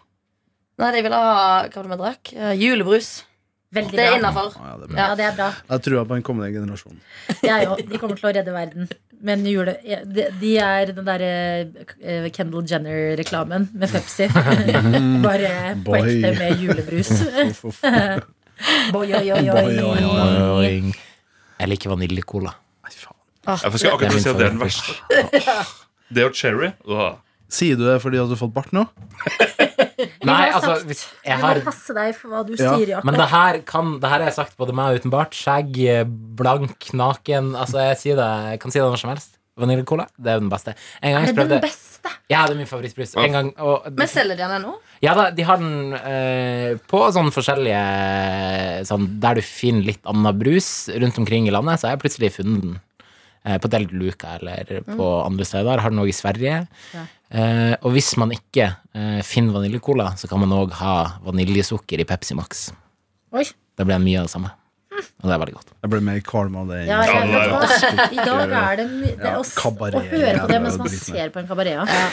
Nei, de ville ha Hva var det vi drakk? Eh, julebrus.
Veldig
Det er
bra.
innafor.
Ah, ja, det er bra.
Ja, det er bra.
Jeg tror på den kommende generasjonen.
Jeg òg. De kommer til å redde verden. Men jule, de, de er den derre eh, Kendall Jenner-reklamen med Pepsi. Bare på
Boy.
ekte med julebrus.
Uff, uff. Nei,
Boy, oi, oi,
Boy, oi,
oi.
Jeg liker vaniljekola.
faen.
Jeg skal akkurat
Det er
si
min
at det er den verste. Det og cherry. åh.
Sier du det fordi at du har fått bart nå?
Nei,
har
altså
sagt-
hvis
Du
jeg
må
har
passe deg for hva du
Ja,
sier,
Men
Jakob.
det her, kan, det her har jeg sagt både meg og uten bart. Skjegg, eh, blank, naken. Altså, jeg sier det, jeg kan si det når som helst. Vaniljekola, det er den beste. En gang
Er
jeg
det den
prøvde
beste?
Ja, det er min favorittbrus. En gang, og,
Men selger de den ennå?
ja da, de har den eh, på sånn forskjellige sånn, Der du finner litt annen brus rundt omkring i landet, så har jeg plutselig funnet den. Eh, på Del Luca eller
Mm.
på andre steder. Har den òg i Sverige. Eh, og hvis man ikke eh, finner vaniljekola, så kan man òg ha vaniljesukker i Pepsi Max.
Oi.
Da blir det mye av det samme. Og det er veldig godt.
Jeg ble mer kvalm av det. enn-
Ja, jeg,
Ja, det er
vet hva? I dag er det, my- det er
Ja,
å, s-
kabaret,
å høre
ja,
på
det er
det mens man
dritmye.
ser på en kabaret. Ja.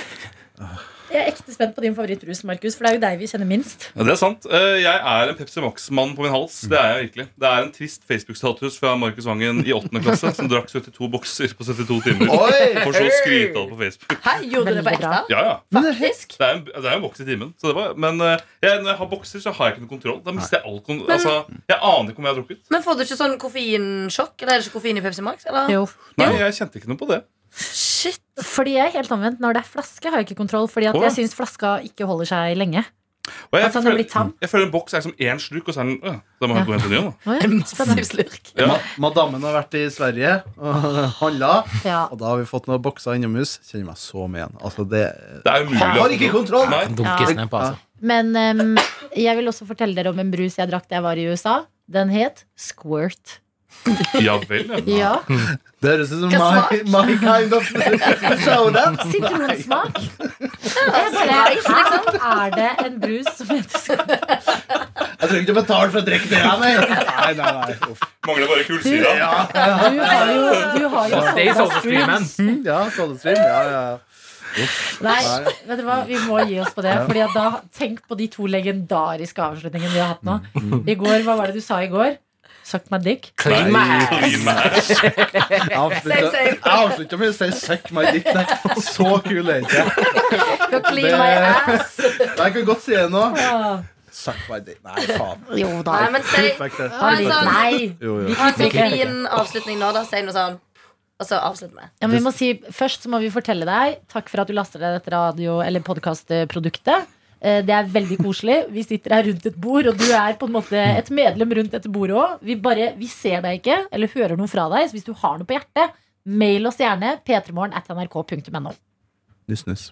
Jeg er ekte spent på din favorittbrus, Markus, for det er jo deg vi kjenner minst.
Ja, det er sant. Eh, Jeg er en Pepsi Max-mann på min hals. Det er jeg virkelig. Det er en trist Facebook-status fra Markus Vangen i 8. klasse som drakk 72 bokser på 72 timer. For så å skryte av det på Facebook.
Hæ, gjorde du det på
Veldig bra.
ekte?
Ja, ja.
Men det,
Fisk?
Det er, en, altså, det er en boks i timen. Så det var, men eh, jeg, når jeg har bokser, så har jeg ikke noe kontroll. Da mister jeg all kon altså, Jeg aner ikke om jeg har drukket.
Men får du ikke sånn koffeinsjokk? Eller er det ikke koffein i Pepsi Max? Eller?
Nei, jeg kjente ikke noe på det.
Shit!
Fordi jeg er helt anvendt Når det er flaske, har jeg ikke kontroll. Fordi at
Å, ja.
jeg syns flaska ikke holder seg lenge.
Og
At
jeg,
han har
føler-
blitt tam?
jeg føler en boks er som én slurk, og så er den øh, Da må jeg gå og hente en ny. da.
Oi,
En
spennende.
massiv slurk.
Ja.
Ma Madammen har vært i Sverige og handla,
Ja.
og da har vi fått noen bokser innomhus. Kjenner meg så med igjen. Altså, det
Det er umulig.
Jeg har ikke kontroll!
Nei.
Dunkes
Ja.
ned på, altså.
Men em, jeg vil også fortelle dere om en brus jeg drakk da jeg var i USA. Den het Squirt.
Ja vel, ja.
Ja,
Det høres ut som
Hva
my, my kind of soda.
Sitronsmak. Jeg bare, liksom, er det en brus som heter Squirt?
Jeg trenger ikke betale for å drikke det. her, Nei, nei, nei, nei. Uff.
Mangler bare kulsyre.
Du har jo, du har jo
Det er
sånne
SodaStreamen.
Mm, Ja, sodastream. Ja, ja.
Nei, vet du hva, vi må gi oss på det. Fordi at da, Tenk på de to legendariske avslutningene vi har hatt nå. I går, Hva var det du sa i går? Suck my dick.
Clean my ass.
Jeg avslutta- jeg avslutta med å si 'suck my dick'. Nei, så kul er jeg ikke.
Go clean my ass.
Men jeg kan godt si det nå.
Ja.
Suck my dick. Nei, faen.
Jo da.
Nei, men si
Kutt vekk det.
ha en sånn,
Nei.
Jo, jo.
ha en sånn
Ikke.
clean avslutning nå, da. Si noe sånn, og så avslutter vi.
Ja, men vi må si, først så må vi fortelle deg Takk for at du laster deg dette radio- eller podcastproduktet Eh, Det er veldig koselig Vi sitter her rundt et bord Og du er på en måte et medlem rundt dette bordet også Vi, bare, vi ser deg ikke Eller hører noe fra deg Så hvis du har noe på hjertet Mail oss gjerne p3morgen at nrk.no
Nuss, nuss.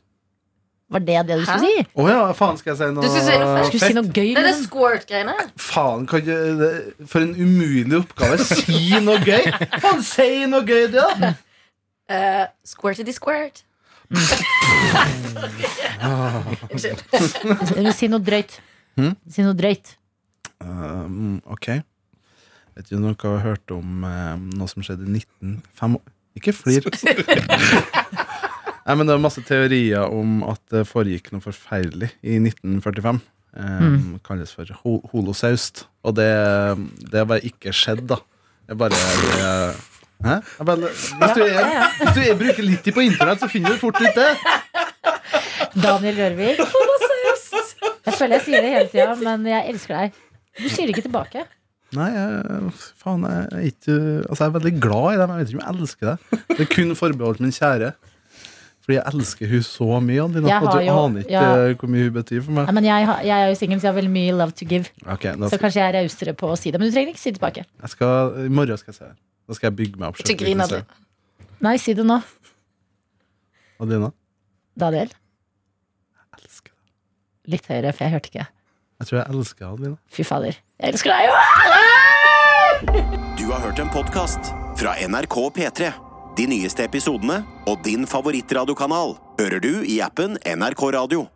Var det det du skulle si?
Å ja, faen, skal jeg si noe
Du skulle si noe først.
Skulle du si noe gøy?
Det er det
liksom?
squirt-greiene.
Faen, kan ikke det- For en umulig oppgave. Si noe gøy! Faen, si noe gøy, det, da!
Uh, squirtity squirt. Unnskyld.
Si noe drøyt Si noe drøyt
Um, ok. Vet du noe jeg har hørt om eh, noe som skjedde i 1905 Ikke flir. Nei, men det er masse teorier om at det foregikk noe forferdelig i 1945. Um, Kalles for ho holosaust. Og det, det har bare ikke skjedd, da. Jeg bare jeg, Hæ? Jeg bare, hvis, du er, hvis du er, bruker litt tid på internett, så finner du fort ut det.
Daniel Rørvik Jeg føler jeg sier det hele tiden Men jeg elsker deg Du sier det ikke tilbake
Nei, jeg, faen, jeg, er ikke, altså jeg er veldig glad i dem. Jeg vet ikke om jeg elsker det. Det er kun forbeholdt min kjære. Fordi jeg elsker hun så mye, Adelina.
Jeg
Og du
har jo-
aner ikke
ja.
eh, hvor mye hun betyr for meg.
Nei, men jeg, har- jeg er jo singel, så jeg har veldig mye love to give.
Ok, da
Så
skal,
kanskje jeg er rausere på å si det. Men du trenger ikke si det tilbake.
jeg skal, I morgen skal jeg se det. Da skal jeg bygge meg opp.
Ikke grin,
selv.
Adelina.
Nei, si det nå.
Adelina,
Daniel.
jeg elsker deg.
Litt høyere, for jeg hørte ikke.
Jeg tror jeg elsker Adelina.
Fy fader. Jeg elsker deg jo!
Du har hørt en podcast fra NRK P3. De nyeste episodene og din favorittradiokanal hører du i appen NRK Radio.